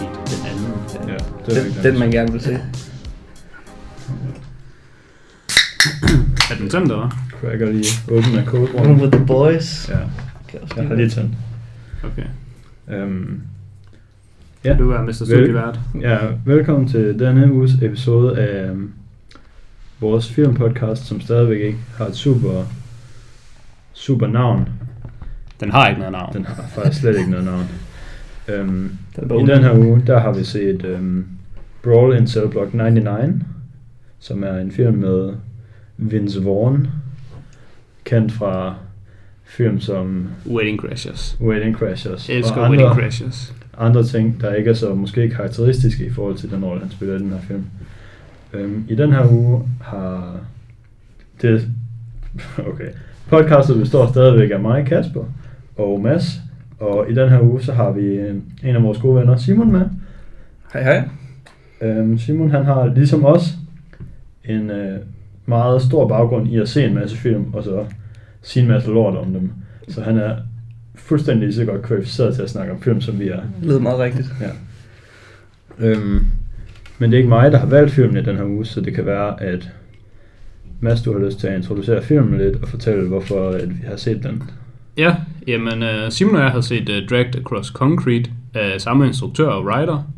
Den anden. Ja, det er Den, den man gerne vil se. Er den tændt, eller? Cracker lige åbne af Room kodebrønden. with the boys. Ja, Kan også jeg har lide. lige tændt. Okay. Øhm, ja. Du er Mr. Vel- Studievært. Ja, velkommen til denne uges episode af øhm, vores filmpodcast, som stadigvæk ikke har et super, super navn. Den har ikke noget navn. Den har faktisk slet ikke noget navn. Øhm, Den er bare I ond. den her uge, der har vi set øhm, Brawl in Cell Block 99, som er en film med Vince Vaughn, kendt fra film som Wedding Crashers. Wedding Crashers Jeg elsker og andre, Wedding Crashers. andre ting, der ikke er så måske karakteristiske i forhold til den rolle, han spiller i den her film. Øhm, I den her uge har det... Okay. Podcastet består stadigvæk af mig, Kasper og Mads. Og i den her uge, så har vi øh, en af vores gode venner, Simon, med. Hej hej. Øhm, Simon han har ligesom os en øh, meget stor baggrund i at se en masse film og så sige en masse lort om dem. Så han er fuldstændig lige så godt kvalificeret til at snakke om film, som vi er. Det lyder meget rigtigt. Ja. Øhm, men det er ikke mig, der har valgt filmen i den her uge, så det kan være, at Mads, du har lyst til at introducere filmen lidt og fortælle, hvorfor at vi har set den. Ja, jamen øh, Simon og jeg havde set øh, Dragged Across Concrete af samme instruktør og writer. Jeg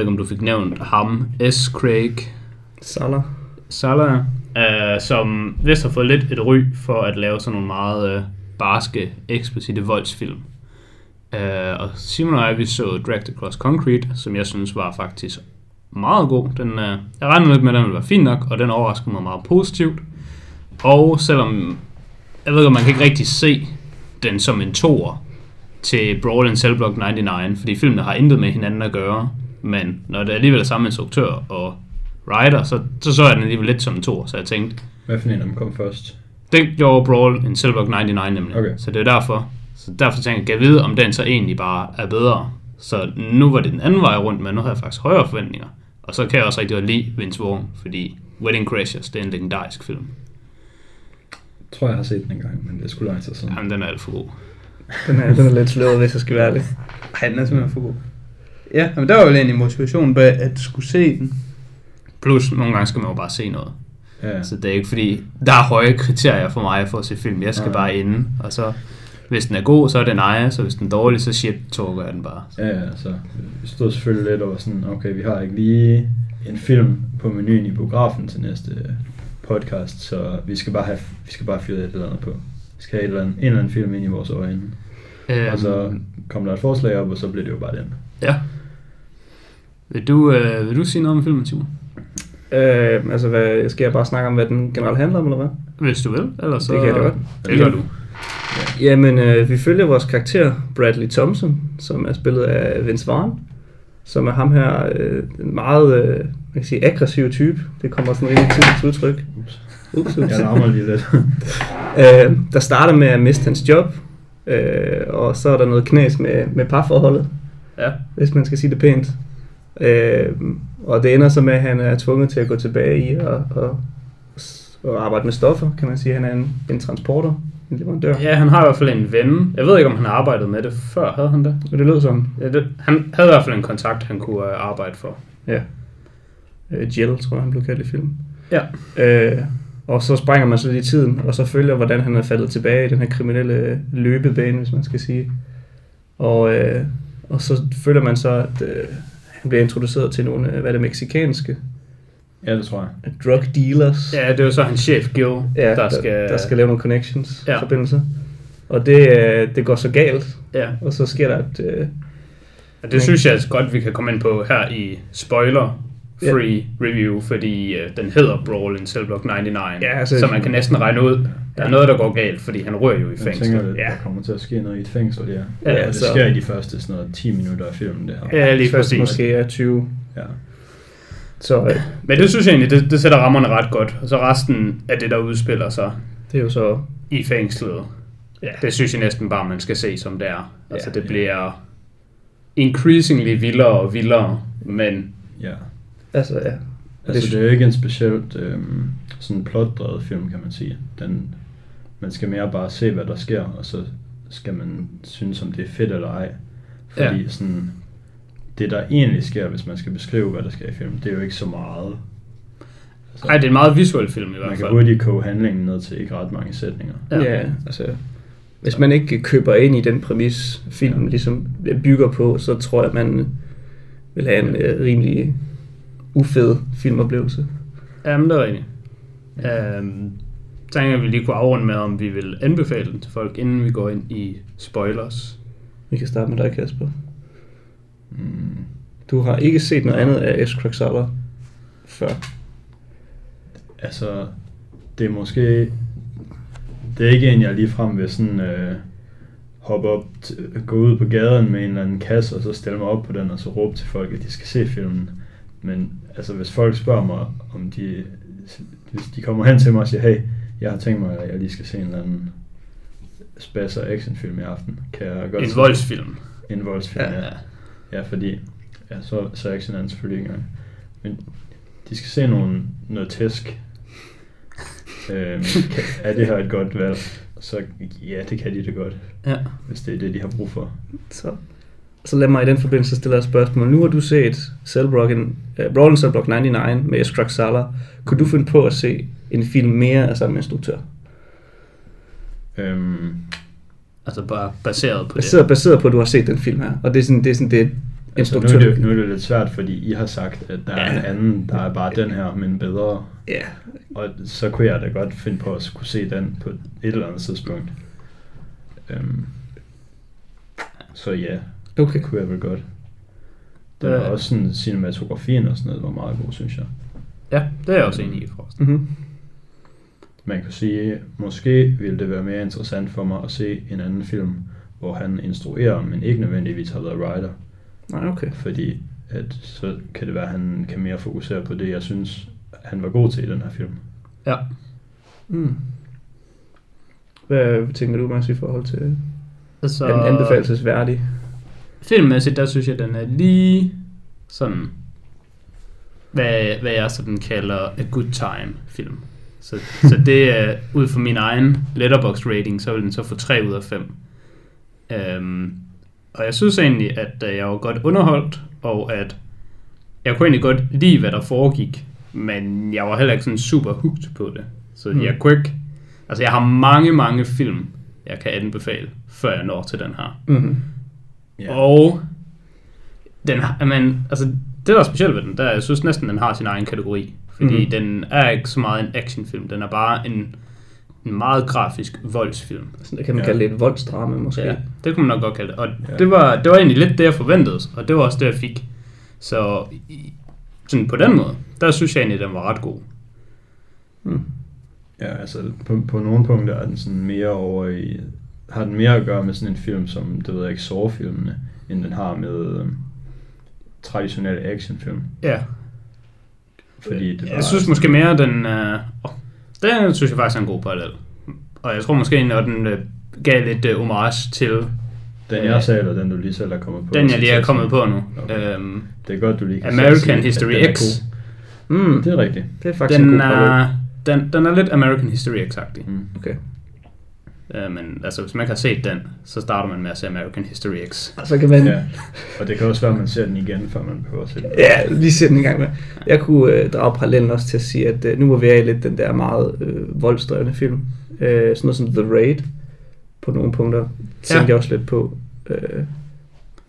ved ikke, om du fik nævnt ham, S. Craig Salah. Salah, øh, som vist har fået lidt et ry for at lave sådan nogle meget øh, barske, eksplicite voldsfilm. Øh, og Simon og jeg, vi så Dragged Across Concrete, som jeg synes var faktisk meget god. Den, øh, jeg regnede lidt med, at den ville være fin nok, og den overraskede mig meget positivt. Og selvom, jeg ved godt, man kan ikke rigtig se den som en toer til Brawl in Cell Block 99, fordi filmene har intet med hinanden at gøre, men når det alligevel er samme instruktør og writer, så, så så jeg den alligevel lidt som en toer, så jeg tænkte, Hvad for en af dem kom først? den gjorde Brawl en Silverg 99 nemlig. Okay. Så det er derfor. Så derfor tænker jeg, kan jeg vide, om den så egentlig bare er bedre. Så nu var det den anden vej rundt, men nu havde jeg faktisk højere forventninger. Og så kan jeg også rigtig godt lide Vince Vaughn, fordi Wedding Crashers, det er en legendarisk film. Jeg tror, jeg har set den engang, men det skulle lang tid siden. Jamen, den er alt for god. Den er, den er lidt sløret, hvis jeg skal være ærlig. Ej, den er simpelthen for god. Ja, men der var vel egentlig motivationen bag at skulle se den. Plus, nogle gange skal man jo bare se noget. Ja. Så det er ikke fordi, der er høje kriterier for mig for at se film. Jeg skal Nej. bare inde, og så... Hvis den er god, så er den ejer, så hvis den er dårlig, så shit-talker jeg den bare. Ja, ja, så vi stod selvfølgelig lidt over sådan, okay, vi har ikke lige en film på menuen i biografen til næste podcast, så vi skal bare have, vi skal bare fyre et eller andet på. Vi skal have et eller andet, en eller anden film ind i vores øjne. Øhm, Og så kom der et forslag op, og så blev det jo bare den. Ja. Vil du, øh, vil du sige noget om filmen, Simon? Øh, altså, hvad, skal jeg bare snakke om, hvad den generelt handler om, eller hvad? Hvis du vil, eller så... Det kan jeg da godt. Det gør du. Jamen, øh, vi følger vores karakter, Bradley Thompson, som er spillet af Vince Vaughn, som er ham her, øh, en meget, øh, man kan sige, aggressiv type. Det kommer sådan rimelig tidligt til udtryk. Ups. Ups, ups. Jeg larmer lige lidt. Øh, der starter med at miste hans job, øh, og så er der noget knas med, med parforholdet. Ja. hvis man skal sige det pænt. Øh, og det ender så med, at han er tvunget til at gå tilbage i og, og, og arbejde med stoffer, kan man sige. Han er en, en transporter, en leverandør. Ja, han har i hvert fald en ven. Jeg ved ikke, om han har arbejdet med det før. Havde han det? Og det lød som Ja, det han havde i hvert fald en kontakt, han kunne øh, arbejde for. øh, Jill, tror jeg, han blev kaldt i filmen. Ja. Øh, og så springer man så lidt i tiden, og så følger, hvordan han er faldet tilbage i den her kriminelle øh, løbebane, hvis man skal sige. Og, øh, og så føler man så, at øh, han bliver introduceret til nogle, øh, hvad er det, meksikanske ja, det tror jeg. drug dealers. Ja, det er jo så hans chef, Gil, ja, der, skal... der skal lave nogle connections, Ja. ja. forbindelser. Og det, øh, det går så galt, Ja, og så sker der et... Øh, og det synes jeg altså godt, vi kan komme ind på her i spoiler-free review, fordi øh, den hedder Brawl in Cell Block 99, Ja, altså- så man kan næsten regne ud, der er noget, der går galt, fordi han rører jo i Jeg tænker, at fængsel. der kommer til at ske noget i et fængsel, ja. Ja, ja det så- sker i de første sådan noget, 10 minutter af filmen, det her. Ja, lige først præcis. Måske er 20. Ja. Så øh, Men det synes jeg egentlig, det, det sætter rammerne ret godt. Og så resten af det, der udspiller sig det er jo så... i fængslet, Ja. det synes jeg næsten bare, man skal se, som det er. Altså, Ja, det bliver increasingly vildere og vildere, men ja. Altså, ja. Altså, Det- det er jo ikke en specielt øhm, sådan plotdrevet film, kan man sige. Den, man skal mere bare se, hvad der sker, og så skal man synes, om det er fedt eller ej. Fordi ja. sådan, det, der egentlig sker, hvis man skal beskrive, hvad der sker i filmen, det er jo ikke så meget. Altså, Ej, det er en meget visuel film i hvert man fald. kan hurtigt koge handlingen ned til ikke ret mange sætninger. Ja. Ja. ja, altså... Hvis man ikke køber ind i den præmis, filmen Ja. ja. ligesom bygger på, så tror jeg, man vil have en øh, rimelig ufed filmoplevelse. Jamen, det er rigtigt. Øhm, tænker jeg, at vi lige kunne afrunde med, om vi vil anbefale den til folk, inden vi går ind i spoilers. Vi kan starte med dig, Kasper. Mm. Du har ikke set noget andet af S. Kraksaller før. Altså, det er måske... Det er ikke en, jeg ligefrem vil sådan... Øh, hoppe op, t- gå ud på gaden med en eller anden kasse, og så stille mig op på den, og så råbe til folk, at de skal se filmen. Men altså, hvis folk spørger mig, om de... Hvis de kommer hen til mig og siger, hey, jeg har tænkt mig, at jeg lige skal se en eller anden spasser actionfilm i aften, kan jeg godt... En voldsfilm. En voldsfilm, ja. ja. Ja, fordi ja, så, så er Action er den selvfølgelig ikke engang. Men de skal se nogle, noget tæsk. øhm, kan- er det her et godt valg? Så ja, det kan de da godt, ja. hvis det er det, de har brug for. Så, så lad mig i den forbindelse stille dig et spørgsmål. Nu har du set Cellbrocken, uh, Brawlen Cellblock 99 med S. Kraksaller. Kunne du finde på at se en film mere af samme instruktør? Øhm, Altså bare baseret på Baseret, det. baseret på, at du har set den film her. Og det er sådan det, er sådan, det altså, nu, instruktør... er det, nu er det lidt svært, fordi I har sagt, at der er en Ja. anden, der er bare den her, men bedre. Ja, Og så kunne jeg da godt finde på at skulle se den på et eller andet tidspunkt. Øhm, så ja, okay. Det kunne jeg vel godt. Den Det- var også sådan, cinematografien og sådan noget var meget god, synes jeg. Ja, det er jeg også enig i, forresten. Mm-hmm. Man kunne sige, måske ville det være mere interessant for mig at se en anden film, hvor han instruerer, men ikke nødvendigvis har været writer. Nej, okay. Fordi at så kan det være, at han kan mere fokusere på det, jeg synes, han var god til i den her film. Ja. Mm. Hvad tænker du, Mads, i forhold til Altså, så... en anbefalesværdig? Filmmæssigt, der synes jeg, den er lige sådan, hvad, hvad jeg sådan kalder a good time film. Så, så det er, ud fra min egen letterbox rating, så vil den så få 3 ud af 5. Øhm, og jeg synes egentlig, at øh, jeg var godt underholdt, og at jeg kunne egentlig godt lide, hvad der foregik, men jeg var heller ikke sådan super hooked på det. Så mm. Mm. jeg kunne ikke, altså jeg har mange, mange film, jeg kan anbefale, før jeg når til den her. Mm-hmm. Yeah. Og den har, men, altså, det der er specielt ved den, der er, jeg synes næsten, den har sin egen kategori. Fordi mm-hmm. Mhm. den er ikke så meget en actionfilm, den er bare en, en meget grafisk voldsfilm. Sådan det kan man Ja. ja. kalde det et voldsdrama, måske. Ja, det kunne man nok godt kalde det. Og Ja. ja. det, var, det var egentlig lidt det, jeg forventede, og det var også det, jeg fik. Så i- sådan på den måde, der synes jeg egentlig, den var ret god. Mm. Ja, altså på, på nogle punkter er den sådan mere over i... Har den mere at gøre med sådan en film som, det ved jeg ikke, Saw-filmene, end den har med øh, traditionelle actionfilm. Ja, Fordi det var, jeg synes måske mere, den... Øh, åh, den synes jeg faktisk er en god parallel. Og jeg tror måske egentlig, at den øh, gav lidt øh, homage til den jeg sagde, eller den du lige selv er kommet på. Øh, Den jeg lige er kommet på nu. Okay. Okay. Øhm, Det er godt, du lige kan American selv sige, at History den er X. god. Mm. Det er rigtigt. Det er faktisk en den, god parallel. er, den, den er lidt American History X-agtig. Mm. Okay. Øh, men altså, hvis man ikke har set den, så starter man med at se American History X. Så kan man... Ja. Og det kan også være, at man ser den igen, før man behøver at se den. Ja, lige sæt den i gang med. Jeg kunne øh, drage parallellen også til at sige, at øh, nu hvor vi er i lidt den der meget øh, voldsdrevne film, øh, sådan noget som The Raid, på nogle punkter, tænkte Ja. ja. jeg også lidt på. Øh,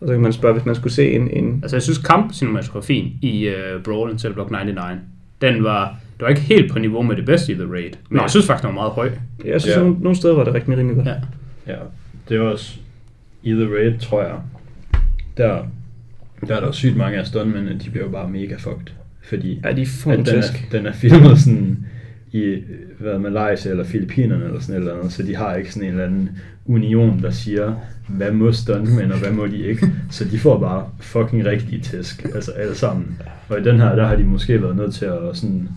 og så kan man spørge, hvis man skulle se en... en Altså, jeg synes kampcinematografien i øh, Brawlen til Block 99, den var, det var ikke helt på niveau med det bedste i The Raid, men Nej. Nej. jeg synes faktisk, den var meget høj. jeg synes, Ja. ja. nogle, nogle steder var det rigtig rimelig godt. Ja. Ja, det er også i The Raid, tror jeg, der, der er der jo sygt mange af stuntmændene, de bliver jo bare mega fucked. Fordi Ja, de er at den, er, fantastiske. den er filmet sådan i øh, hvad, Malaysia eller Filippinerne eller sådan et eller andet, så de har ikke sådan en eller anden union, der siger, hvad må stuntmænd og hvad må de ikke, så de får bare fucking rigtige tæsk, altså alle sammen. Og i den her, der har de måske været nødt til at sådan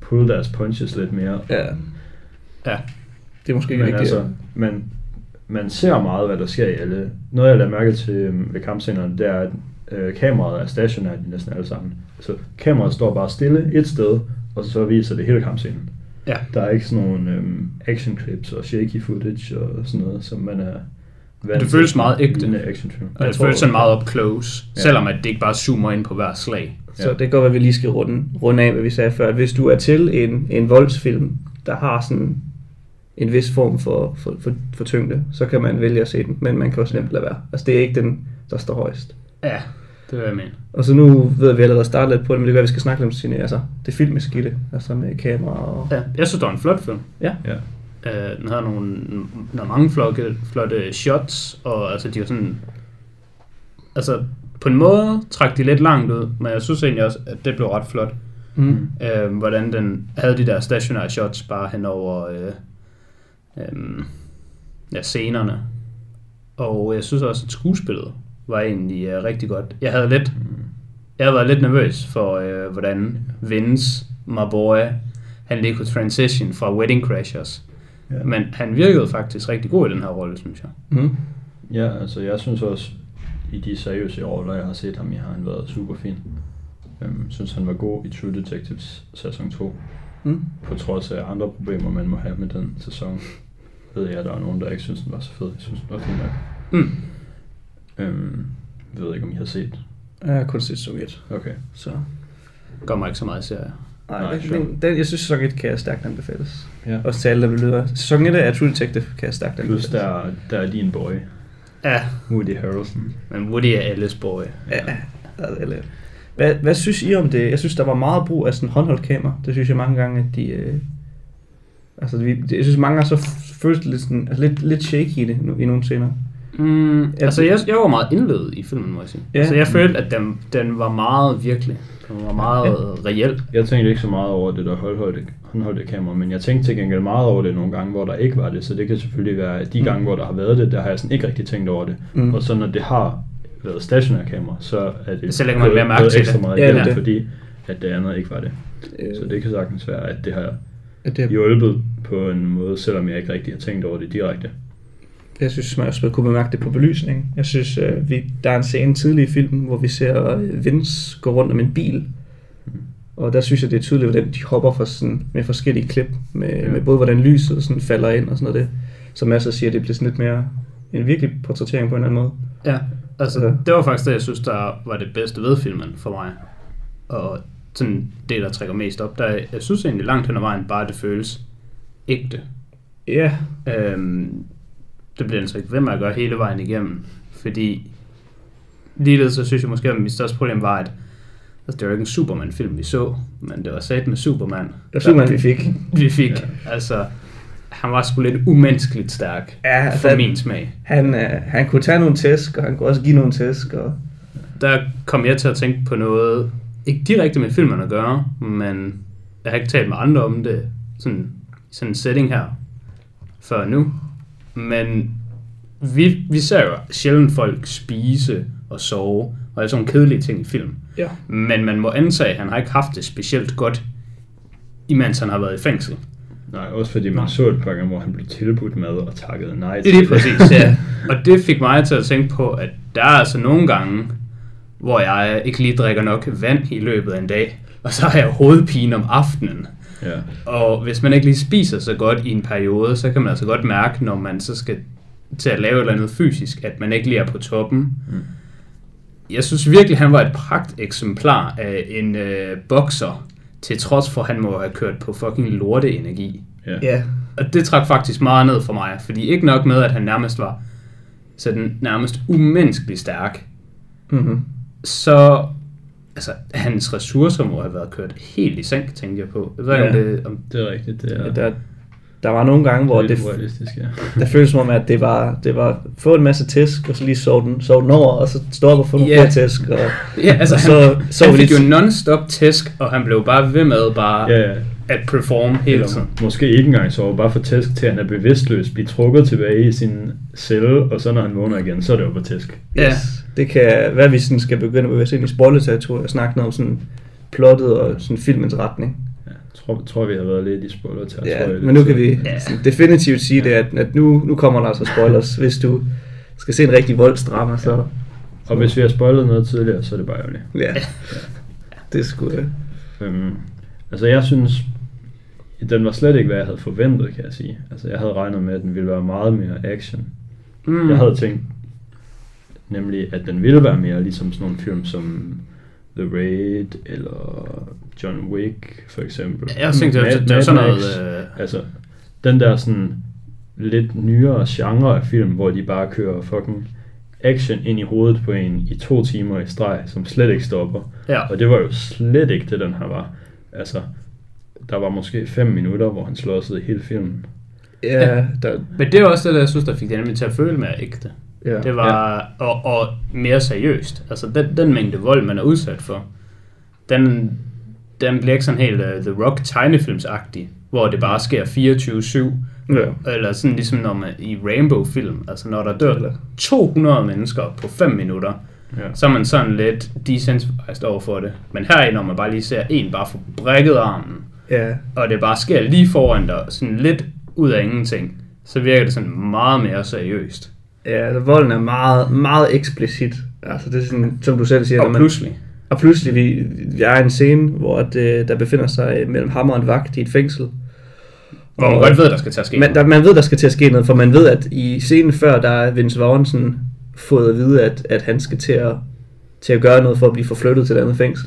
pull deres punches lidt mere, Ja. Ja. Det er måske ikke men rigtigt. altså, man, man ser meget, hvad der sker i alle. Noget, jeg lader mærke til øhm, ved kampscenerne, det er, at øh, kameraet er stationært i næsten alle sammen. Så kameraet står bare stille et sted, og så viser det hele kampscenen. Ja. Der er ikke sådan nogle øhm, action clips og shaky footage og sådan noget, som man er Hvad Det føles meget ægte. Lignende actionfilm. Og Jeg det tror- føles sådan meget up close, Ja. ja. selvom at det ikke bare zoomer ind på hver slag. Så det kan godt være, at vi lige skal runde, runde af, hvad vi sagde før. At hvis du er til en, en voldsfilm, der har sådan en vis form for, for, for, for tyngde, så kan man vælge at se den, men man kan også nemt lade være. Altså det er ikke den, der står højst. Ja, det er hvad jeg mener. Og så nu ved vi allerede startet lidt på det, men det gør, at vi skal snakke lidt om sine, altså det filmiske i det, altså med kamera og... Ja, jeg synes, det var en flot film. Ja. Ja. Øh, den havde nogle, nogle mange flotte, flotte shots, og altså, de var sådan... Altså, på en måde trak de lidt langt ud, men jeg synes egentlig også, at det blev ret flot. Mm. Øh, hvordan den havde de der stationære shots bare hen over øh, øh, ja, scenerne. Og jeg synes også, at skuespillet var egentlig øh, rigtig godt. Jeg havde lidt, Mm. jeg havde været lidt nervøs for, øh, hvordan Vince, my boy, han lige kunne transition fra Wedding Crashers. Ja. Men han virkede faktisk rigtig god i den her rolle, synes jeg. Mm. Ja, altså jeg synes også, i de seriøse roller, jeg har set ham i, har han været super fin. Jeg synes, han var god i True Detectives sæson 2, Mm. på trods af andre problemer, man må have med den sæson. Ved jeg, der er nogen, der ikke synes, den var så fed. Jeg synes, den var fin nok. Mm. Øhm, jeg ved ikke, om I har set. Jeg har kun set Sovjet, Okay. så... Gør mig ikke så meget serier. Nej, Nej, Nej sure. den, den, jeg synes, sæson 1 kan jeg stærkt anbefales. Ja. Også til alle, der vil lyde. Sæson 1 af True Detective kan jeg stærkt Plus, anbefales. der, er- der er din boy, Ja, Woody Harrelson. men Woody er alles boy. Ja, eller... Hvad, hvad synes I om det? Jeg synes, der var meget brug af sådan håndholdt kamera. Det synes jeg mange gange, at de... Øh, altså, vi, det- jeg synes, mange gange så f- føles det lidt, sådan, altså, lidt, lidt shaky i det nu, i nogle scener. Mm, altså, jeg, jeg var meget indlevet i filmen, må jeg sige. Ja. Ja. Altså, jeg følte, at den, den var meget virkelig. Den var meget ja. reel. Jeg tænkte ikke så meget over det der håndholdte, håndholdte kamera, men jeg tænkte til gengæld meget over det nogle gange, hvor der ikke var det. Så det kan selvfølgelig være, at de gange, hvor der har været det, der har jeg sådan ikke rigtig tænkt over det. Mm. Mm. Og så når det har været stationær kamera, så er det Så lægger man gået- mere mærke gået til ekstra det. meget Ja, igennem, det er det. fordi at det andet ikke var det. Øh, Så det kan sagtens være, at det har at det, hjulpet på en måde, selvom jeg ikke rigtig har tænkt over det direkte. jeg synes, man også kunne bemærke det på belysningen. Jeg synes, øh, vi, der er en scene tidlig i filmen, hvor vi ser øh, Vince gå rundt om en bil. Mm. Og der synes jeg, det er tydeligt, hvordan de hopper for sådan, med forskellige klip. Med, ja. Ja. med både, hvordan lyset sådan falder ind og sådan noget. Det, som Mads også siger, det bliver sådan lidt mere en virkelig portrættering på en eller anden måde. Ja, altså, Ja. ja. det var faktisk det, jeg synes, der var det bedste ved filmen for mig. Og sådan det, der trækker mest op, der jeg synes egentlig langt hen ad vejen, bare det føles ægte. Ja, Øhm, det bliver den så ikke ved med at gøre hele vejen igennem, fordi ligeledes så synes jeg måske, at mit største problem var, at altså, det var ikke en Superman-film, vi så, men det var sat med Superman. det var man, vi fik. vi fik. Ja. Altså, han var sgu lidt umenneskeligt stærk, Ja, for den- min smag. Han, øh, han kunne tage nogle tæsk, og han kunne også give nogle tæsk. Og, Der kom jeg til at tænke på noget, ikke direkte med filmen at gøre, men jeg har ikke talt med andre om det, sådan, sådan en setting her, før nu. Men vi, vi ser jo sjældent folk spise og sove, og alle sådan nogle kedelige ting i film. ja. Men man må antage, at han har ikke haft det specielt godt, imens han har været i fængsel. Nej, også fordi man så et par gange, hvor han blev tilbudt mad og takkede nej til Lige det. præcis, ja. Altså, Og det fik mig til at tænke på, at der er altså nogle gange, hvor jeg ikke lige drikker nok vand i løbet af en dag, og så har jeg hovedpine om aftenen. ja. Og hvis man ikke lige spiser så godt i en periode, så kan man altså godt mærke, når man så skal til at lave et eller andet fysisk, at man ikke lige er på toppen. Mm. Jeg synes virkelig, han var et pragt eksemplar af en øh, bokser, til trods for, at han må have kørt på fucking lorteenergi. Ja. ja. Og det trak faktisk meget ned for mig, fordi ikke nok med, at han nærmest var sådan nærmest umenneskelig stærk, Mm-hmm. så altså, hans ressourcer må have været kørt helt i sænk, tænkte jeg på. Jeg ved ikke, om Ja. det, om, Det er rigtigt, det er, Ja. Der, der var nogle gange, hvor det er det, lidt urealistisk, ja. der føltes som om, at det var, det var få en masse tæsk, og så lige sove den, sove den over, og så stå op og få nogle Ja. yeah. tæsk. Og, ja, altså, og så, han, så han vi fik lidt- jo non-stop tæsk, og han blev bare ved med bare Ja, ja. at performe hele tiden. Eller måske ikke engang sove, bare for tæsk til, at han er bevidstløs, bliver trukket tilbage i sin celle, og så når han vågner igen, så er det jo på tæsk. Ja. Det kan være, vi sådan skal begynde at bevæge os ind i spoilerterritoriet og snakke noget om sådan plottet og sådan filmens retning. Ja, tror, tror vi har været lidt i spoiler til. Ja, tror jeg, men nu lidt. kan vi Ja. sådan definitivt sige det, at, at nu, nu kommer der altså spoilers, hvis du skal se en rigtig voldsdrama, så Og hvis vi har spoilet noget tidligere, så er det bare ærgerligt. ja, det skulle Øhm, altså jeg synes, den var slet ikke, hvad jeg havde forventet, kan jeg sige. Altså jeg havde regnet med, at den ville være meget mere action. Mm. Jeg havde tænkt, nemlig at den ville være mere ligesom sådan nogle film som The Raid eller John Wick for eksempel. Jeg tænkte, det var- Mad- det var Mad sådan Max. noget, øh, Altså, den der sådan lidt nyere genre af film, hvor de bare kører fucking action ind i hovedet på en i to timer i streg, som slet ikke stopper. Ja. Og det var jo slet ikke det, den her var. Altså, der var måske 5 minutter, hvor han slåsede hele filmen. Ja, der, Men det er også det, der, jeg synes, der fik det nemlig til at føle mere ægte. ja. Det var, ja. og, og mere seriøst. Altså, den, den mængde vold, man er udsat for, den, den bliver ikke sådan helt uh, The Rock tegnefilmsagtig, hvor det bare sker 24-7. Ja. Eller sådan ligesom når man, i Rainbow-film, altså når der dør 200 mennesker på 5 minutter, Ja. så er man sådan lidt desensitized over for det. Men her når man bare lige ser en bare få brækket armen, ja. og det bare sker lige foran dig, sådan lidt ud af ingenting, så virker det sådan meget mere seriøst. Ja, altså, volden er meget, meget eksplicit. Altså, det er sådan, som du selv siger. når Og man- pludselig. Og pludselig, vi, vi er i en scene, hvor at, øh, der befinder sig øh, mellem ham og en vagt i et fængsel. Hvor man godt ved, der skal tage ske. Man, der, man ved, der skal til at ske noget, for man ved, at i scenen før, der er Vince Vorensen fået at vide, at, at han skal til at, til at gøre noget for at blive forflyttet til et andet fængsel.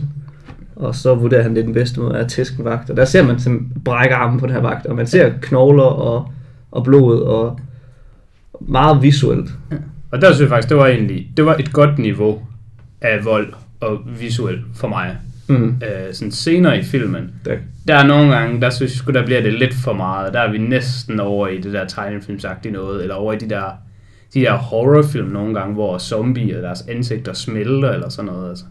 Og så vurderer han, det er den bedste måde at tæske en vagt. Og der ser man som brække armen på den her vagt, og man ser knogler og, og blod, og meget visuelt. Og der synes jeg faktisk, det var egentlig det var et godt niveau af vold og visuel for mig. Mm. Øh, sådan senere i filmen, Der, der er nogle gange, der synes jeg sgu, der bliver det lidt for meget. Der er vi næsten over i det der tegnefilmsagtige noget, eller over i de der, de der horrorfilm nogle gange, hvor zombier og deres ansigter smelter eller sådan noget. Altså.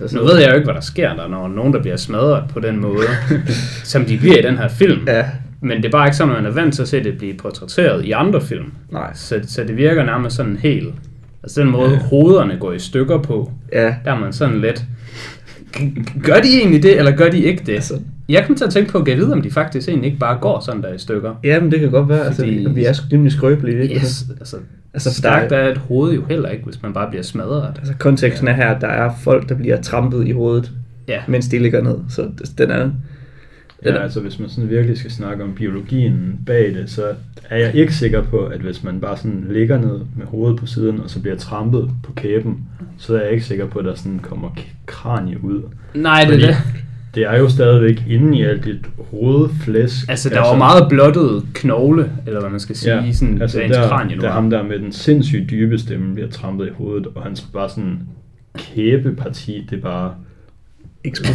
altså, Nu ved jeg jo ikke, hvad der sker der, når nogen, der bliver smadret på den måde, som de bliver i den her film. Ja, Men det er bare ikke sådan, man er vant til at se det blive portrætteret i andre film. nej. Så, så det virker nærmest sådan helt... Altså den måde, hovederne går i stykker på, Ja, der er man sådan lidt... "G- Gør de egentlig det, eller gør de ikke det? Altså- Jeg kom til at tænke på, at jeg vide, om de faktisk egentlig ikke bare går sådan der i stykker. Jamen, det kan godt være. Altså, Fordi- vi, vi er sgu rimelig skrøbelige. Ikke? Yes, altså, Altså, altså for stærkt der er et hoved jo heller ikke, hvis man bare bliver smadret. Altså, konteksten er her, at der er folk, der bliver trampet i hovedet, Ja, mens de ligger ned. Så det- den er... Ja, altså hvis man sådan virkelig skal snakke om biologien bag det, så er jeg ikke sikker på, at hvis man bare sådan ligger ned med hovedet på siden, og så bliver trampet på kæben, så er jeg ikke sikker på, at der sådan kommer k- kranie ud. nej, det Fordi er det. det er jo stadigvæk inde i alt dit hovedflæsk. Altså, der var meget blottet knogle, eller hvad man skal sige, ja, sådan altså, altså rent der, kranie nu. der ham der med den sindssygt dybe stemme bliver trampet i hovedet, og hans bare sådan kæbeparti, det bare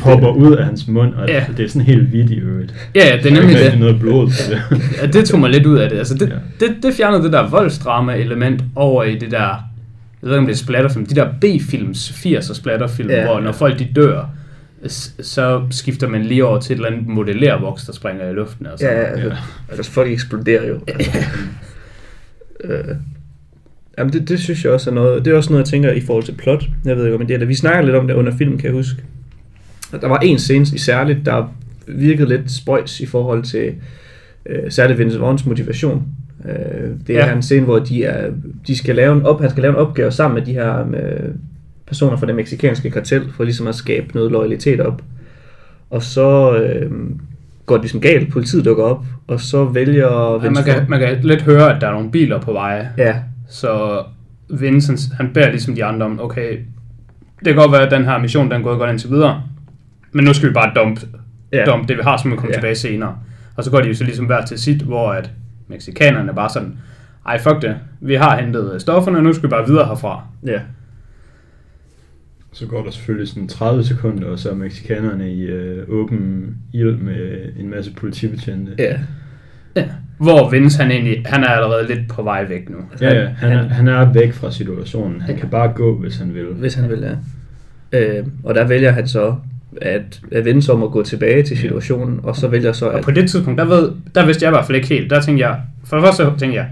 hopper ud af hans mund, og Ja. ja. det er sådan helt vildt i øvrigt. Ja, ja, det er nemlig Der ikke det. noget blod til det. Ja, det tog mig lidt ud af det. Altså, det, ja. Ja. det, det fjernede det der voldsdrama-element over i det der, jeg ved ikke om det er splatterfilm, de der B-films, 80'er splatterfilm, ja, Ja. hvor når folk de dør, s- så skifter man lige over til et eller andet modellervoks, der springer i luften. Og Ja, sådan. altså, Ja. ja. altså folk eksploderer jo. Altså. øh, jamen, det, det synes jeg også er noget... Det er også noget, jeg tænker i forhold til plot. Jeg ved ikke, om det er det. Vi snakkede lidt om det under film, kan jeg huske. Og Der var en scene i særligt, der virkede lidt spøjs i forhold til øh, særligt Vince Vaughns motivation. Øh, det er Ja. ja. en scene, hvor de, er, de skal lave en op, han skal lave en opgave sammen med de her øh, personer fra det meksikanske kartel, for ligesom at skabe noget loyalitet op. Og så øh, går det ligesom galt, politiet dukker op, og så vælger Ja, man, Vince kan, man kan lidt høre, at der er nogle biler på vej, Ja, så Vincent, han beder ligesom de andre om, okay, det kan godt være, at den her mission, den er gået godt indtil videre, men nu skal vi bare dump, ja. Ja. dump det, vi har, så må vi komme ja. Ja. tilbage senere. Og så går de jo så ligesom hver til sit, hvor at mexikanerne bare sådan, ej fuck det, vi har hentet øh, stofferne, nu skal vi bare videre herfra. ja. Så går der selvfølgelig sådan 30 sekunder, og så er mexikanerne i øh, åben ild med en masse politibetjente. ja. Ja. Hvor Vince, han egentlig, han er allerede lidt på vej væk nu. ja, ja han, er, han er væk fra situationen. Han Ja. kan bare gå, hvis han vil. Hvis han vil, ja. Øh, og der vælger han så at, at vende sig om at gå tilbage til situationen, og så vælger så Og at... på det tidspunkt, der, ved, der vidste jeg i hvert fald ikke helt. Der tænkte jeg, for det første tænkte jeg,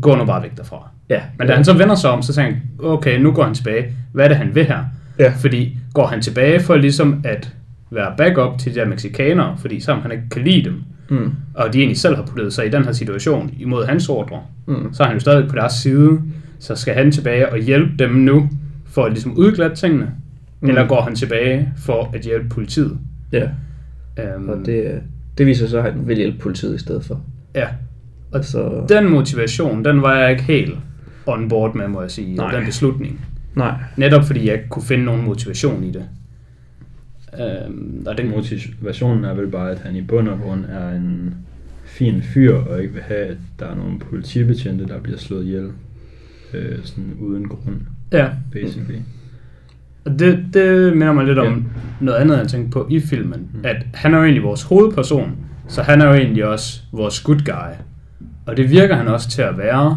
gå nu bare væk derfra. Ja, Men da han så vender sig om, så tænker han, okay, nu går han tilbage. Hvad er det, han vil her? Ja. Fordi går han tilbage for ligesom at være backup til de der mexikanere, fordi sammen han ikke kan lide dem, Mm. og de egentlig selv har puttet sig i den her situation imod hans ordre, Mm. så er han jo stadig på deres side, så skal han tilbage og hjælpe dem nu, for at ligesom udglatte tingene, mm. Mm. eller går han tilbage for at hjælpe politiet? Ja, Um, og det, øh, det viser sig, at han vil hjælpe politiet i stedet for. Ja, Og så... den motivation, den var jeg ikke helt on board med, må jeg sige, Nej. Nej. den beslutning. Nej. Netop fordi jeg kunne finde nogen motivation i det. Øhm, og den Motivationen er vel bare, at han i bund og grund er en fin fyr, og ikke vil have, at der er nogle politibetjente, der bliver slået ihjel. Øh, sådan uden grund, ja. basically. Og det, det minder mig lidt om Ja. noget andet, jeg tænkte på i filmen. Mm. Mm. At han er jo egentlig vores hovedperson, så han er jo egentlig også vores good guy. Og det virker han også til at være,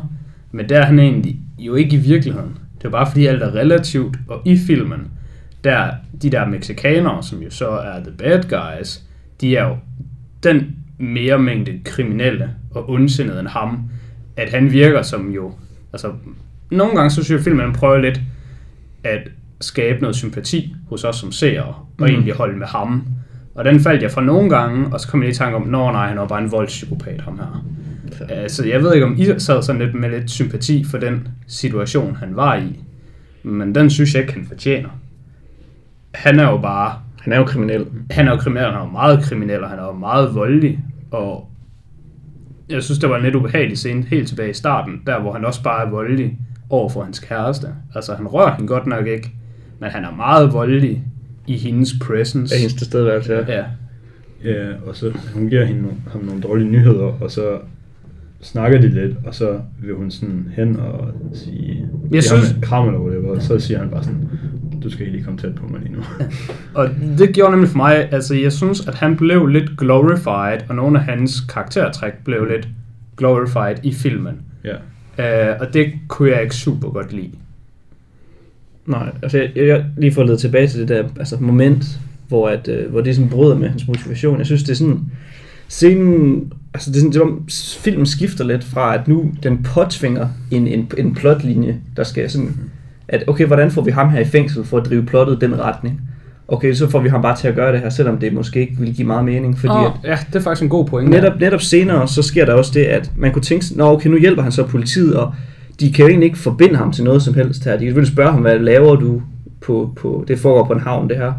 men der er han egentlig jo ikke i virkeligheden. Det er bare fordi alt er relativt, og i filmen, der de der mexikanere, som jo så er the bad guys, de er jo den mere mængde kriminelle og ondsindede end ham, at han virker som jo, altså nogle gange så synes jeg, at filmen prøver lidt at skabe noget sympati hos os som seere, og mm. egentlig holde med ham. Og den faldt jeg fra nogle gange, og så kom jeg lige i tanke om, nå nej, han var bare en voldspsykopat, ham her. Øh, Så jeg ved ikke, om I sad sådan lidt med lidt sympati for den situation, han var i. Men den synes jeg ikke, han fortjener. Han er jo bare... Han er jo kriminel. Han er jo kriminel, han er jo meget kriminel, og han er jo meget voldelig. Og jeg synes, det var en lidt ubehagelig scene helt tilbage i starten, der hvor han også bare er voldelig over for hans kæreste. Altså, han rører hende godt nok ikke, men han er meget voldelig i hendes presence. Af hendes tilstedeværelse, ja. Ja, Ja, og så hun giver hende, no- ham nogle dårlige nyheder, og så snakker de lidt, og så vil hun sådan hen og sige, jeg synes- ham en kram eller whatever, og så siger han bare sådan, du skal ikke lige komme tæt på mig lige nu. Og det gjorde nemlig for mig, altså jeg synes, at han blev lidt glorified, og nogle af hans karaktertræk blev lidt glorified i filmen. ja. Uh, og det kunne jeg ikke super godt lide. Nej, altså jeg, jeg, jeg lige for at lede tilbage til det der altså, moment, hvor, at, øh, hvor det sådan bryder med hans motivation. Jeg synes, det er sådan, scenen, altså det er sådan, det er, som om s- filmen skifter lidt fra, at nu den påtvinger en, en, en plotlinje, der skal sådan, at okay, hvordan får vi ham her i fængsel for at drive plottet i den retning? Okay, så får vi ham bare til at gøre det her, selvom det måske ikke ville give meget mening, fordi oh. at ja, det er faktisk en god pointe. Netop, netop senere, så sker der også det, at man kunne tænke, sig, nå okay, nu hjælper han så politiet, og de kan jo egentlig ikke forbinde ham til noget som helst her. De kan selvfølgelig spørge ham, hvad laver du på, på det foregår på en havn, det her.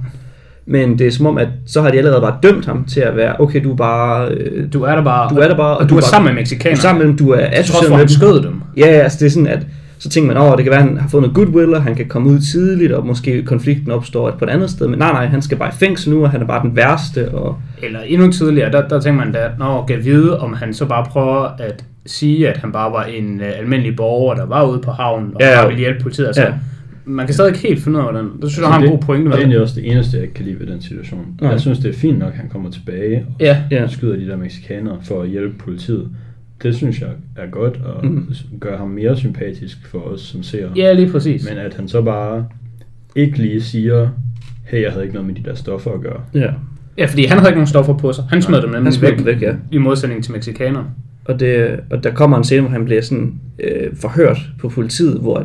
Men det er som om, at så har de allerede bare dømt ham til at være, okay, du er bare... Øh, Du er der bare, Du er der bare, og, og og du Ah, du, er er bare- sammen med du er mexikanerne. sammen med dem, du er Jeg tror, associeret for med han dem. skød dem. Ja, ja, altså det er sådan, at så tænker man, åh, det kan være, han har fået noget goodwill, og han kan komme ud tidligt, og måske konflikten opstår et på et andet sted. Men nej, nej, han skal bare i fængsel nu, og han er bare den værste, og... Eller endnu tidligere, der, der tænker man da, når kan vide, om han så bare prøver at sige, at han bare var en uh, almindelig borger, der var ude på havnen, og Ja, ja, ja. bare ville hjælpe politiet. Altså, Ja. Altså, ja. Man kan stadig ikke helt finde ud af, hvordan. Det synes jeg har en det, god pointe. Det er med. egentlig også det eneste, jeg ikke kan lide ved den situation. Nej. Jeg synes, det er fint nok, at han kommer tilbage og Ja, Ja. skyder de der mexikanere for at hjælpe politiet. Det synes jeg er godt, og Mhm. mm. gør ham mere sympatisk for os som seere. ja, lige præcis. Men at han så bare ikke lige siger, hey, jeg havde ikke noget med de der stoffer at gøre. Ja, Ja, fordi han havde ikke nogen stoffer på sig. Han smed dem nemlig han smed dem væk, væk, ja. i modsætning til mexikanerne. Og, det, og der kommer en scene, hvor han bliver sådan øh, forhørt på politiet, hvor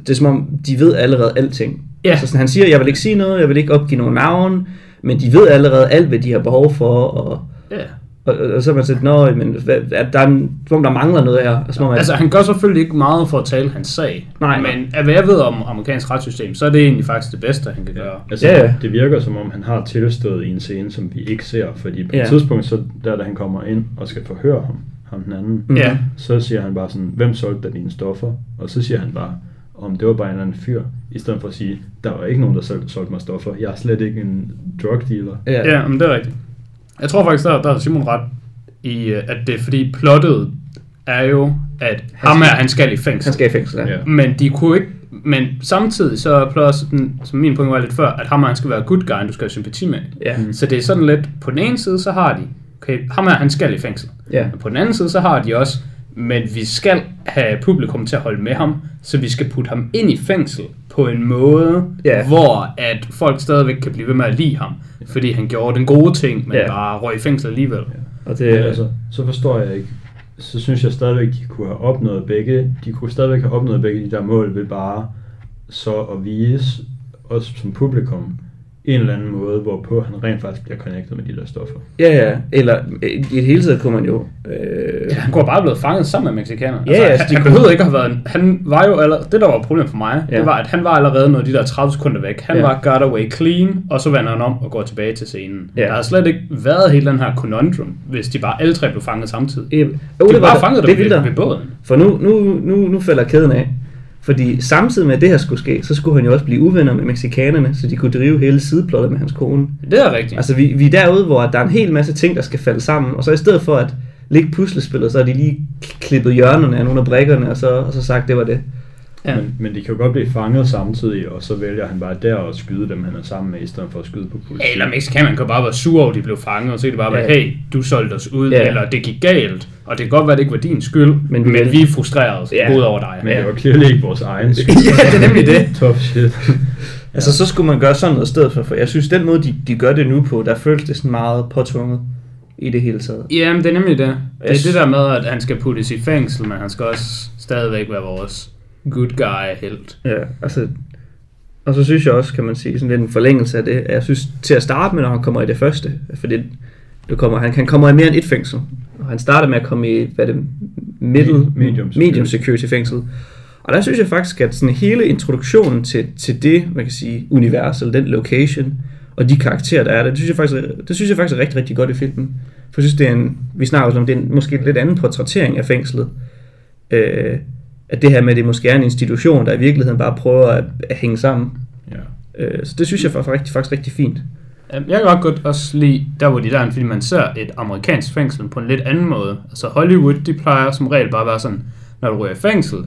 det er som om, de ved allerede alting. Ja. Altså sådan, han siger, jeg vil ikke sige noget, jeg vil ikke opgive nogen navn, men de ved allerede alt, hvad de har behov for, og, Ja. og, og, og så er man sådan, nå, men hvad, er der, er en, som om der mangler noget her. Og som om, at, Altså, han gør selvfølgelig ikke meget for at tale hans sag. Nej. Men af hvad jeg ved om amerikansk retssystem, så er det egentlig faktisk det bedste, han kan gøre. Altså, Ja, ja. yeah. det virker som om, han har tilstået i en scene, som vi ikke ser, fordi på Ja. et tidspunkt, så der da han kommer ind og skal forhøre ham, ham den anden, Mhm. Ja. så siger han bare sådan, hvem solgte der dine stoffer? Og så siger han bare, om det var bare en eller anden fyr, i stedet for at sige, der var ikke nogen, der solgte, solgte mig stoffer, jeg er slet ikke en drug dealer. ja, Ja, men det er rigtigt. Jeg tror faktisk, der, der har Simon ret i, øh, at det er fordi plottet er jo, at ham her, skal- han skal i fængsel. han skal i fængsel. Ja. Ja. Men de kunne ikke... Men samtidig så er plottet, også sådan, som min point var lidt før, at ham her, han skal være good guy, du skal have sympati med. Ja. Så det er sådan lidt, på den ene side, så har de, okay, ham her, han skal i fængsel. Ja. Men på den anden side, så har de også, men vi skal have publikum til at holde med ham, så vi skal putte ham ind i fængsel på en måde, Ja. hvor at folk stadigvæk kan blive ved med at lide ham, fordi han gjorde den gode ting, men Ja. ja. bare røg i fængsel alligevel. Og Men det, altså, så forstår jeg ikke. Så synes jeg stadigvæk, de kunne have opnået begge. De kunne stadigvæk have opnået begge de der mål ved bare så at vise os som publikum, en eller anden måde, hvorpå han rent faktisk bliver connectet med de der stoffer. Ja, ja. Eller øh, i det hele taget kunne man jo... Øh, Ja, han kunne have bare blevet fanget sammen med mexikanerne. Ja, altså, ja, han, så de han kunne- behøvede ikke at have været en, Han var jo allerede... Det, der var et problem for mig, ja. Ja. det var, at han var allerede noget af de der 30 sekunder væk. Han ja. Ja. var got away clean, og så vender han om og går tilbage til scenen. Ja. Ja. Der har slet ikke været hele den her conundrum, hvis de bare alle tre blev fanget samtidig. øh, øh, de var bare fanget det dem ville ved, der. ved båden. For nu, nu, nu, nu falder kæden af. Fordi samtidig med, at det her skulle ske, så skulle han jo også blive uvenner med mexikanerne, så de kunne drive hele sideplottet med hans kone. Det er rigtigt. Altså, Altså, vi, vi er derude, hvor der er en hel masse ting, der skal falde sammen, og så i stedet for at ligge puslespillet, så har de lige k- klippet hjørnerne af nogle af brikkerne, og så, og så sagt, det var det. ja. Men, men de kan jo godt blive fanget samtidig, og så vælger han bare der at skyde dem, han er sammen med, i stedet for at skyde på politiet. Eller mexikanerne kan bare være sure over, at de blev fanget, og så kan de bare være, Ja. hey, du solgte os ud, Ja. eller det gik galt, og det kan godt være, det ikke var din skyld, men, Men vi- men vi er frustrerede ja. Ja. ud over dig. Men det var clearly ikke vores egen skyld. Ja, det er nemlig det. Tough shit. Altså, så skulle man gøre sådan noget i stedet for, for jeg synes, den måde, de, de gør det nu på, der føles det sådan meget påtvunget i det hele taget. Jamen, det er nemlig det. Det er Jeg sy- det der med, at han skal puttes i fængsel, men han skal også stadigvæk være vores good guy helt. Ja, altså... Og så synes jeg også, kan man sige, sådan lidt en forlængelse af det, at jeg synes til at starte med, når han kommer i det første, fordi det kommer, han, han kommer i mere end et fængsel, og han starter med at komme i, hvad er det, middle, Me- medium security. medium security fængsel. Og der synes jeg faktisk, at sådan hele introduktionen til, til det, man kan sige, univers, eller den location, og de karakterer, der er der, det synes jeg faktisk, er- det synes jeg faktisk er rigtig, rigtig godt i filmen. For jeg synes, det er en, vi snakker også om, det er en, måske en lidt anden portrættering af fængslet. Øh, at det her med, at det måske er en institution, der i virkeligheden bare prøver at, at hænge sammen. Ja. Øh, så det synes jeg faktisk er rigtig, faktisk rigtig fint. Øhm, Jeg kan godt godt også lide, der hvor de der er, fordi man ser et amerikansk fængsel på en lidt anden måde. Altså Hollywood, de plejer som regel bare at være sådan, når du rører i fængsel,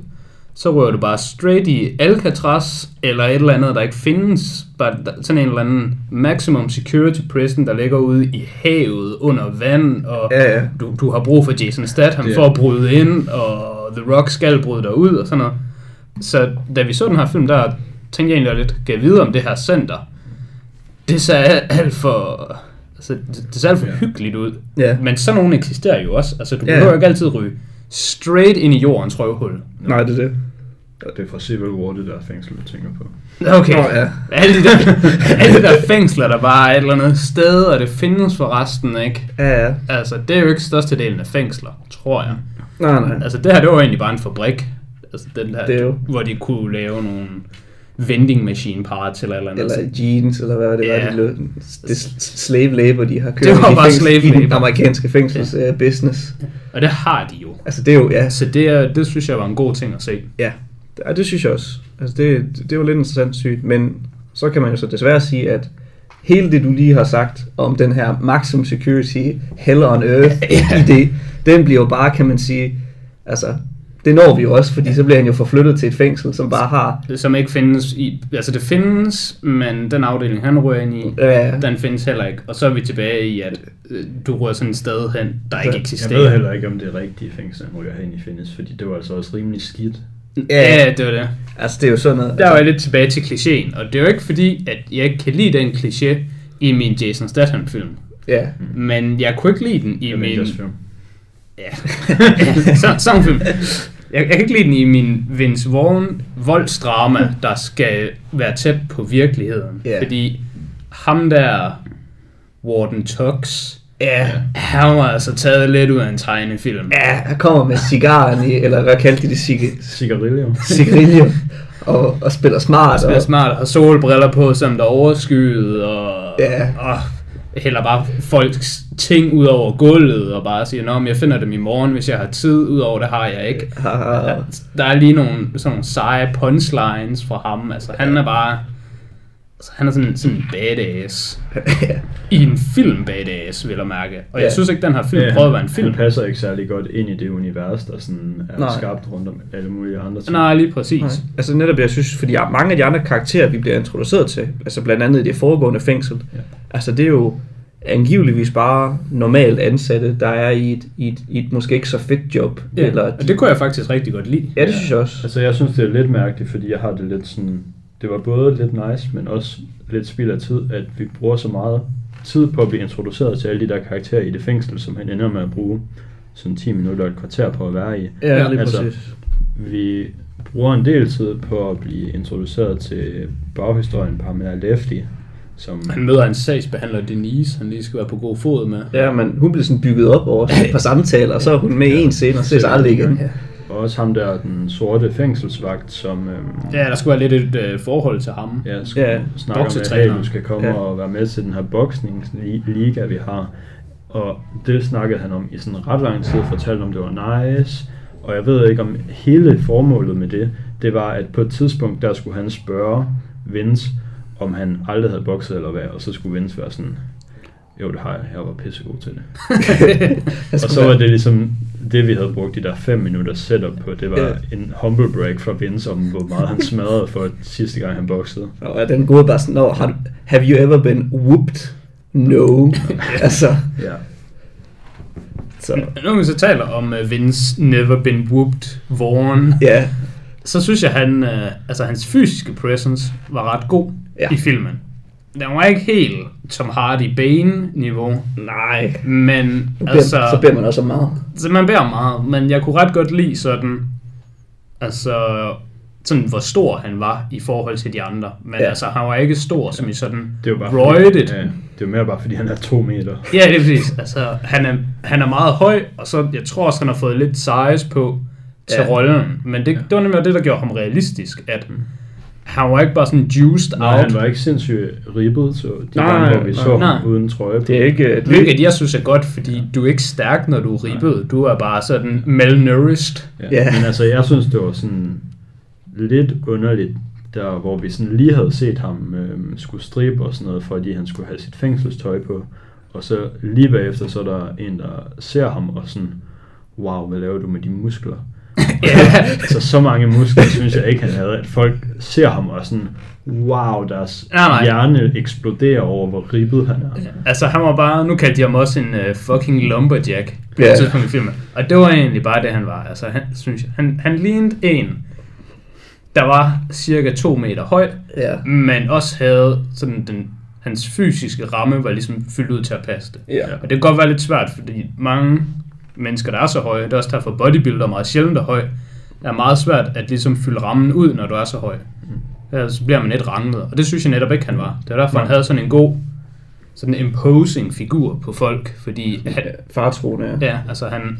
så rører du bare straight i Alcatraz, eller et eller andet, der ikke findes, bare der- sådan en eller anden maximum security prison, der ligger ude i havet, under vand, og Ja, ja. Du, du har brug for Jason Statham Det- for at bryde ind, og The Rock skal bryde dig ud, og sådan noget. Så da vi så den her film, der tænkte jeg egentlig lidt, kan jeg vide om det her center? Det ser al- alt for... Altså, det, det ser alt for Ja. hyggeligt ud. Ja. Men sådan nogen eksisterer jo også. Altså, du Ja, ja. behøver ikke altid ryge straight ind i jordens røvhul. Nej, det er det. Og det er fra Civil War, det der fængsel, du tænker på. Okay. Nå, ja. alle, de der, alle de der fængsler, der bare er et eller andet sted, og det findes for resten, ikke? Ja, ja. Altså, det er jo ikke størstedelen af fængsler, tror jeg. Nej, nej. Altså, det her, det var egentlig bare en fabrik. Altså, den der, Mm. Det er jo. hvor de kunne lave nogle vending machine parts eller et eller andet. Eller jeans, eller hvad altså- det Ja. Altså- var, de lød. Det er slave labor, de har kørt Det var i, bare slave i den labor. amerikanske fængsels ja. business. Og det har de jo. Altså, det er jo, ja, Så det, er, det synes jeg var en god ting at se. Ja, ja det synes jeg også. Altså det, det var lidt interessant sygt, men så kan man jo så desværre sige, at hele det, du lige har sagt om den her maximum security, hell on earth idé, den bliver jo bare, kan man sige, altså, det når vi jo også, fordi så bliver han jo forflyttet til et fængsel, som bare har, Som ikke findes i... Altså, det findes, men den afdeling, han rører ind i, øh, den findes heller ikke. Og så er vi tilbage i, at øh, du rører sådan et sted hen, der ikke Jeg Jeg eksisterer. ved heller ikke, om det er rigtige fængsel, han ryger hen i findes, fordi det var altså også rimelig skidt. Ja, det var det. altså det er jo sådan noget. Der var jeg lidt tilbage til klichéen, og det er jo ikke fordi, at jeg ikke kan lide den kliché i min Jason Statham-film. Ja, Men jeg kunne ikke lide den i min film. Ja, så, sådan en film. Jeg, jeg kan ikke lide den i min Vince Vaughn voldsdrama, der skal være tæt på virkeligheden. Ja. Fordi ham der, Warden Tux, ja, han var altså taget lidt ud af en tegnefilm. ja, han kommer med cigaren i, eller hvad kaldte de det, cig- Cigarillo. cigarillo, og, og spiller smart. Han er og, smart og har solbriller på, som der er overskyet, og, Ja. og hælder bare folks ting ud over gulvet, og bare siger, Nå, men jeg finder dem i morgen, hvis jeg har tid, udover det har jeg ikke. har, Der er lige nogle sådan nogle seje punchlines fra ham. Altså, han er bare... Altså, han er sådan, sådan en badass. ja. I en film badass, vil jeg mærke. Og jeg Ja. synes ikke, den her film prøvede at være en film. Han passer ikke særlig godt ind i det univers, der sådan er Nej. skabt rundt om alle mulige andre ting. Nej, lige præcis. Nej. Altså netop, jeg synes, fordi mange af de andre karakterer, vi bliver introduceret til, altså blandt andet i det foregående fængsel, Ja. ja. altså det er jo angiveligvis bare normalt ansatte, der er i et, i et, i et måske ikke så fedt job. Ja, Eller og det kunne jeg faktisk rigtig godt lide. ja, det synes jeg også. Altså, jeg synes, det er lidt mærkeligt, fordi jeg har det lidt sådan... Det var både lidt nice, men også lidt spild af tid, at vi bruger så meget tid på at blive introduceret til alle de der karakterer i det fængsel, som han ender med at bruge sådan 10 minutter og et kvarter på at være i. Ja, lige altså, præcis. Vi bruger en del tid på at blive introduceret til baghistorien på Amelia Lefty, som... Han møder en sagsbehandler, Denise, han lige skal være på god fod med. Ja, men hun blev sådan bygget op over sådan et par samtaler, og så er hun med i en scene, og så ses aldrig igen. Og også ham der, den sorte fængselsvagt, som... Øhm, Ja, der skulle være lidt et øh, forhold til ham. Ja, skulle Ja, ja, snakke om, at hey, boksetræner. du skal komme Ja. ja. og være med til den her boksningsliga, vi har. Og det snakkede han om i sådan ret lang tid, fortalte om, det var nice. Og jeg ved ikke, om hele formålet med det, det var, at på et tidspunkt, der skulle han spørge Vince, om han aldrig havde bokset eller hvad, og så skulle Vince være sådan, jo det har jeg, jeg var pissegod til det. og så var det ligesom det, vi havde brugt de der 5 minutter setup på, det var Ja. en humble break fra Vince om, hvor meget han smadrede for sidste gang, han boksede. Og den gode bare sådan, "Nå, har du, have you ever been whooped? No. altså, Ja. så, Når man så taler om uh, Vince Never Been Whooped Vaughn, ja. så synes jeg, han, øh, altså, hans fysiske presence var ret god Ja. ja. i filmen. Den var ikke helt Tom Hardy Bane-niveau, Nej. men Nu beder, altså, altså, så beder man også om meget. så man beder meget, men jeg kunne ret godt lide sådan, altså, sådan hvor stor han var i forhold til de andre. Men Ja. ja. altså, han var ikke stor som i sådan Det er jo bare roided. Fordi, ja, det er jo mere bare fordi han er to meter. Ja, det er præcis. Altså, han er, han er meget høj, og så jeg tror også, han har fået lidt size på til Ja. ja. rollen. Men det, ja. det var nemlig det, der gjorde ham realistisk, at han var ikke bare sådan juiced Nej, out. han var ikke sindssygt ribbet, så de Nej, gange, hvor vi nej, så nej. ham uden trøje på. Det er ikke... øh, Det, Hvilket jeg synes er godt, fordi du er ikke stærk, når du er ribbet. Du er bare sådan malnourished. Ja. Ja. Men altså, jeg synes, det var sådan lidt underligt, der hvor vi sådan lige havde set ham øh, skulle stribe og sådan noget, fordi han skulle have sit fængselstøj på. Og så lige bagefter, så er der en, der ser ham og sådan, wow, hvad laver du med de muskler? Ja. altså, så mange muskler, synes jeg ikke, han havde, at folk ser ham og sådan, wow, deres Nej, nej. hjerne eksploderer over, hvor ribbet han er. Altså, han var bare... Nu kaldte de ham også en uh, fucking lumberjack på Ja. yeah. et tidspunkt i filmen. Og det var egentlig bare det, han var. Altså, han, synes jeg, han, han lignede en, der var cirka 2 meter høj, ja. men også havde sådan den, hans fysiske ramme var ligesom fyldt ud til at passe det. Ja. Og det kan godt være lidt svært, fordi mange mennesker, der er så høje, det er også derfor bodybuilder meget sjældent er høj, det er meget svært at ligesom fylde rammen ud, når du er så høj. Ellers så bliver man lidt ranglet, og det synes jeg netop ikke, han var. Det var derfor, han havde sådan en god, sådan en imposing figur på folk, fordi han, Fartroende, ja. ja, altså han,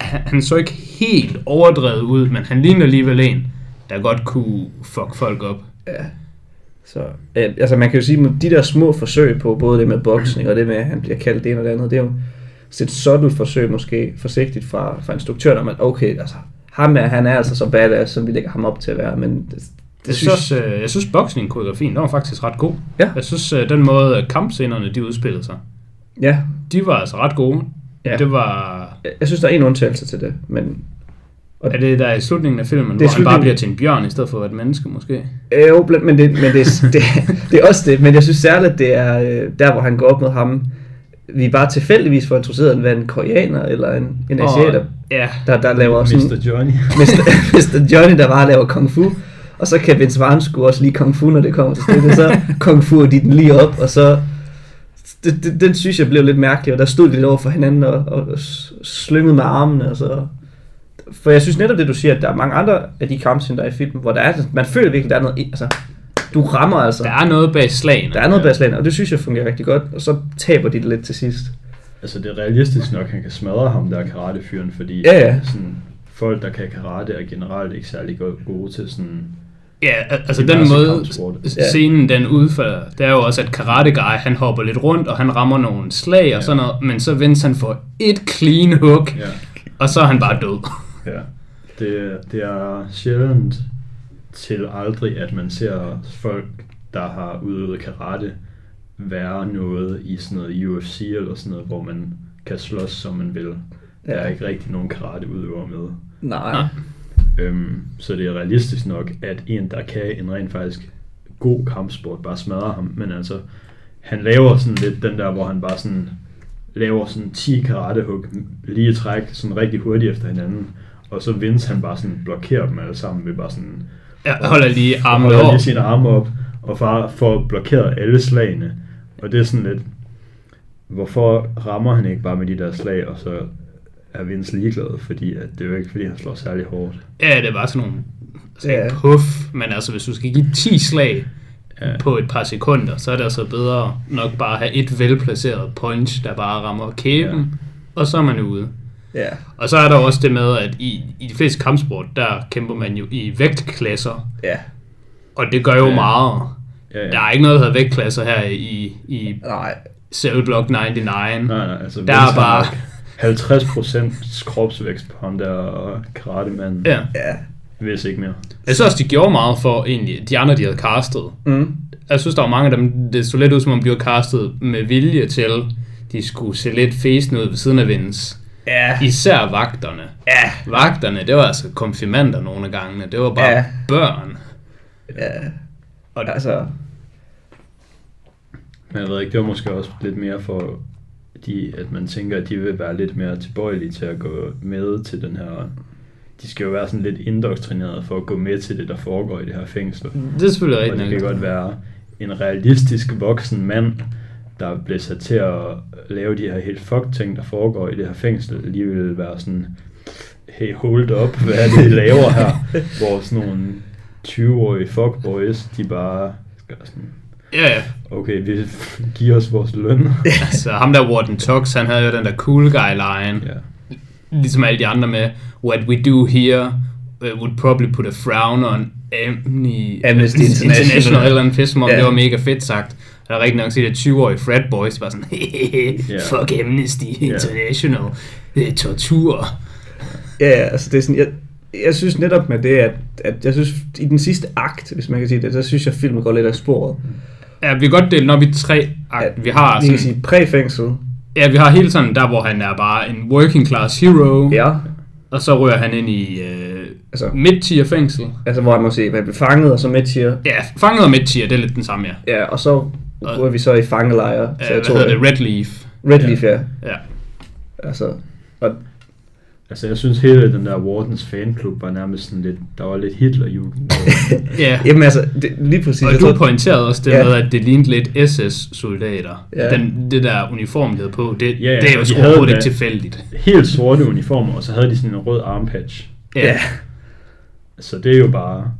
han, han så ikke helt overdrevet ud, men han lignede alligevel en, der godt kunne fuck folk op. Så, ja, altså man kan jo sige, at de der små forsøg på både det med boksning og det med, at han bliver kaldt det ene og det andet, det er jo sådan et sådan forsøg måske forsigtigt fra, fra instruktøren om, at okay, altså ham er, han er altså så badass, som vi lægger ham op til at være, men det, det Jeg synes, synes, også, øh, jeg synes boksning-koreografien, den var faktisk ret god. Ja. Jeg synes, øh, den måde øh, kampscenerne, de udspillede sig, ja, de var altså ret gode. Ja. Ja. Det var... jeg, jeg synes, der er en undtagelse til det, men Er det der i slutningen af filmen, Det hvor er han bare slutningen. bliver til en bjørn, i stedet for at være et menneske, måske? Øh, Jo, bl- men, det, men det, det, det er også det. Men jeg synes særligt, det er øh, der, hvor han går op mod ham. Vi er bare tilfældigvis for interesseret i, hvad en koreaner eller en, en asiater, Og, ja, der, der laver sådan... Mr. Johnny. Mr. Mr. Johnny, der bare laver kung fu. Og så kan Vince Vaughn sgu også lige kung fu, når det kommer til stykket. Så kung fu de den lige op, og så... Det, det, den synes jeg blev lidt mærkelig, og der stod de lidt over for hinanden og, og s- slyngede med armene. Og så. For jeg synes netop det, du siger, at der er mange andre af de kampscener, der er i filmen, hvor der er, man føler virkelig, der er noget... i- Altså, du rammer altså. der er noget bag slagene. Der er noget baseline, og det synes jeg fungerer rigtig godt, og så taber de det lidt til sidst. Altså, det er realistisk nok, han kan smadre ham, der er karatefyren, fordi Ja, ja. Sådan, folk, der kan karate, er generelt ikke særlig go- gode til sådan... Ja, al- altså Det er den altså måde, kampsport. s- scenen den udfører, det er jo også, at Karate Guy, han hopper lidt rundt, og han rammer nogle slag og sådan noget, men så Vince, han får et clean hook, Ja. og så er han bare død. ja. Det, det er sjældent til aldrig, at man ser folk, der har udøvet karate, være noget i sådan noget UFC eller sådan noget, hvor man kan slås, som man vil. Der Ja. er ikke rigtig nogen karateudøver med. Nej. Øhm, så det er realistisk nok, at en, der kan en rent faktisk god kampsport, bare smadrer ham. Men altså, han laver sådan lidt den der, hvor han bare sådan laver sådan 10 karatehug lige i træk, sådan rigtig hurtigt efter hinanden. Og så Vince han bare sådan blokerer dem alle sammen ved bare sådan Jeg holder lige armen holder over. lige sine arme op og far får blokeret alle slagene. Og det er sådan lidt, hvorfor rammer han ikke bare med de der slag, og så er Vince ligeglad, fordi at det er jo ikke, fordi han slår særlig hårdt. Ja, det var sådan nogle altså, Ja. ja. puff, men altså hvis du skal give 10 slag, ja. på et par sekunder, så er det altså bedre nok bare at have et velplaceret punch, der bare rammer kæben, ja. og så er man ude. Ja. Og så er der også det med, at i, i de fleste kampsport, der kæmper man jo i vægtklasser, Ja. og det gør jo Ja. ja. meget. Ja, ja. Der er ikke noget, der hedder vægtklasser her i, i Nej. Cell Block 99. Nej, nej, altså Der er Vince har bare- nok 50% kropsvækst på ham der karatemanden, Ja. Ja. hvis ikke mere. Jeg synes også, de gjorde meget for egentlig, de andre, de havde castet. Mm. Jeg synes, der var mange af dem, det så lidt ud, som om de var castet med vilje til, de skulle se lidt fæsende ud ved siden af Vince. Ja. Især vagterne. Ja. Vagterne, det var altså konfirmander nogle af gangene. Det var bare Ja. ja. børn. Ja. Og Og altså, Men jeg ved ikke, det var måske også lidt mere for de, at man tænker, at de vil være lidt mere tilbøjelige til at gå med til den her... De skal jo være sådan lidt indoktrineret for at gå med til det, der foregår i det her fængsel. det er selvfølgelig Og rigtigt. det kan nok. godt være en realistisk voksen mand, der bliver sat til at lave de her helt fuck ting, der foregår i det her fængsel, alligevel være sådan, hey hold up, hvad er det, I laver her? Hvor sådan nogle 20-årige fuckboys, de bare gør sådan, Ja, ja. okay, vi giver os vores løn. Altså, ham der Warden Tux, han havde jo den der cool guy line. ja. ligesom alle de andre med, what we do here uh, would probably put a frown on Amnesty, Amnesty International. International eller en pisse, som om Ja. det var mega fedt sagt. Og der er rigtig nok sige, at 20-årige frat boys var sådan, yeah. fuck Amnesty International, yeah. tortur. ja, altså det er sådan, jeg, jeg synes netop med det, at, at jeg synes, i den sidste akt, hvis man kan sige det, der synes jeg, filmen går lidt af sporet. Ja, vi kan godt dele den op i tre akt. At Vi har, Vi sådan, kan sige præfængsel. ja, vi har hele sådan der, hvor han er bare en working class hero, Ja. og så rører han ind i øh, Altså- altså, midt-tier fængsel. Altså, hvor han må se, hvad blev fanget, og så med siger, Ja, fanget og midt-tier, det er lidt den samme, ja. ja, og så bruger vi så i fangelejre. Øh, hvad hedder det? Red Leaf. Red Leaf, ja. Ja. Altså, og Altså, jeg synes hele den der Wardens fanklub var nærmest sådan lidt, der var lidt Hitlerjugend. Ja. Jamen altså, det, lige præcis. Og jeg du tror- pointerede også det Ja. ja. med, at det lignede lidt SS-soldater. Ja. Ja. Den, det der uniform, de havde på, det, Ja, ja, ja, ja. det er jo de sgu havde overhovedet ikke det. tilfældigt. helt sorte uniformer, og så havde de sådan en rød armpatch. Ja. ja. Så det er jo bare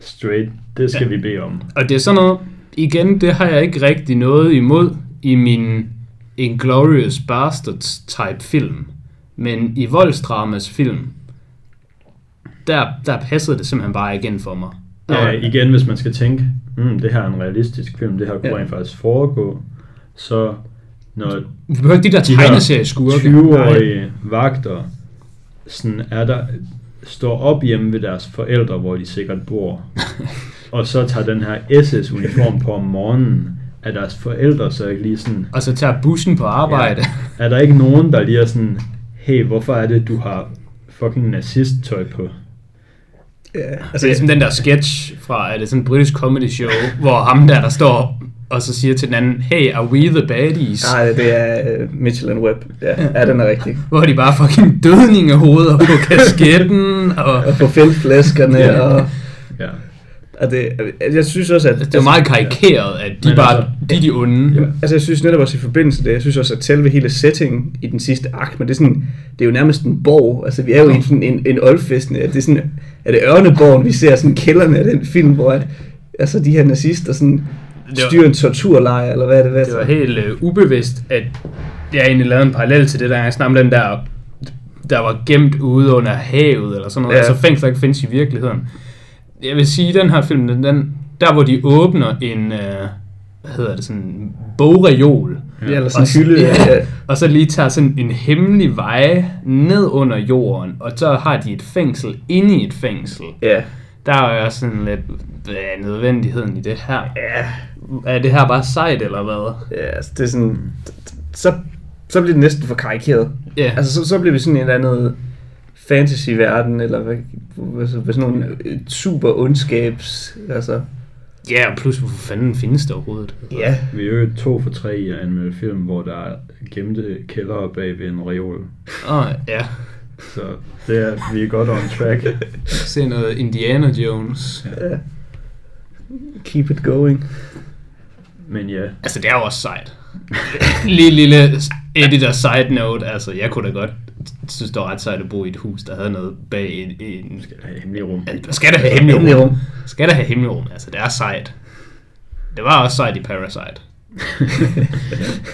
straight, det skal Ja. vi bede om. Og det er sådan noget, igen, det har jeg ikke rigtig noget imod i min Inglourious Bastards type film. Men i voldsdramas film, der, der passede det simpelthen bare igen for mig. Ja, Og- igen, hvis man skal tænke, mm, det her er en realistisk film, det her kunne Ja. ja. rent faktisk foregå, så når Vi behøver ikke de der de her tegneserieskurke. Nej. 20-årige vagter sådan er der, står op hjemme ved deres forældre, hvor de sikkert bor, og så tager den her SS-uniform på om morgenen, er deres forældre så ikke lige sådan, Og så tager bussen på arbejde. Ja. Er der ikke nogen, der lige er sådan, hey, hvorfor er det, du har fucking nazist-tøj på? Ja, Altså, det er som den der sketch fra, er det sådan en britisk comedy show, hvor ham der, der står og så siger til den anden, hey, are we the baddies? Nej, det er uh, Mitchell and Webb. Ja, ja, den er rigtig. Hvor de bare fucking dødning af hoveder på kasketten, og Altså, Og på feltflæskerne, Ja. og, Ja. og det, altså, jeg synes også, at... det er jo meget karikeret, at de Men bare, altså- de er de onde. Ja. Altså, jeg synes netop også i forbindelse med det, jeg synes også, at selve hele settingen i den sidste akt, men det er, sådan, det er jo nærmest en borg, altså vi er jo i sådan en, en oldfest, det er, sådan, er det Ørneborgen, vi ser sådan kælderne af den film, hvor at, altså, de her nazister sådan Det var- styrer en torturlejr, eller hvad er det, hvad er Det var helt øh, ubevidst, at jeg egentlig lavede en parallel til det, der jeg snakkede om den der, der var gemt ude under havet, eller sådan noget. Ja. Ja. Altså fængsler ikke findes i virkeligheden. Jeg vil sige, at den her film, den, den, der hvor de åbner en, øh, hvad hedder det, sådan en bogreol, Ja, eller og, sådan en hylde. ja, Ja. og så lige tager sådan en hemmelig vej ned under jorden, og så har de et fængsel inde i et fængsel. Ja. Der er jo sådan lidt, hvad er nødvendigheden i det her? Er det her bare sejt, eller hvad? Ja, altså, det er sådan... Så, så bliver det næsten for karikeret. Ja. Altså, så, så bliver vi sådan en eller anden fantasy-verden, eller hvad, hvad, så- hvad sådan nogle øh, super ondskabs... Altså, Ja, og plus hvorfor fanden findes det overhovedet? ja. Vi er jo to for tre i at anmelde film, hvor der er gemte kældere bag ved en reol. Åh, oh, ja. Så det er, vi er godt on track. Se noget Indiana Jones. ja. Keep it going. Men ja, Altså, det er jo også sejt. Lille, lille editor side note. Altså, jeg kunne da godt synes, det var ret sejt at bo i et hus, der havde noget bag en... en det er et hemmeligt rum. Altså, skal der have hemmeligt rum? Skal der have hemmeligt rum? Altså, det er sejt. Det var også sejt i Parasite.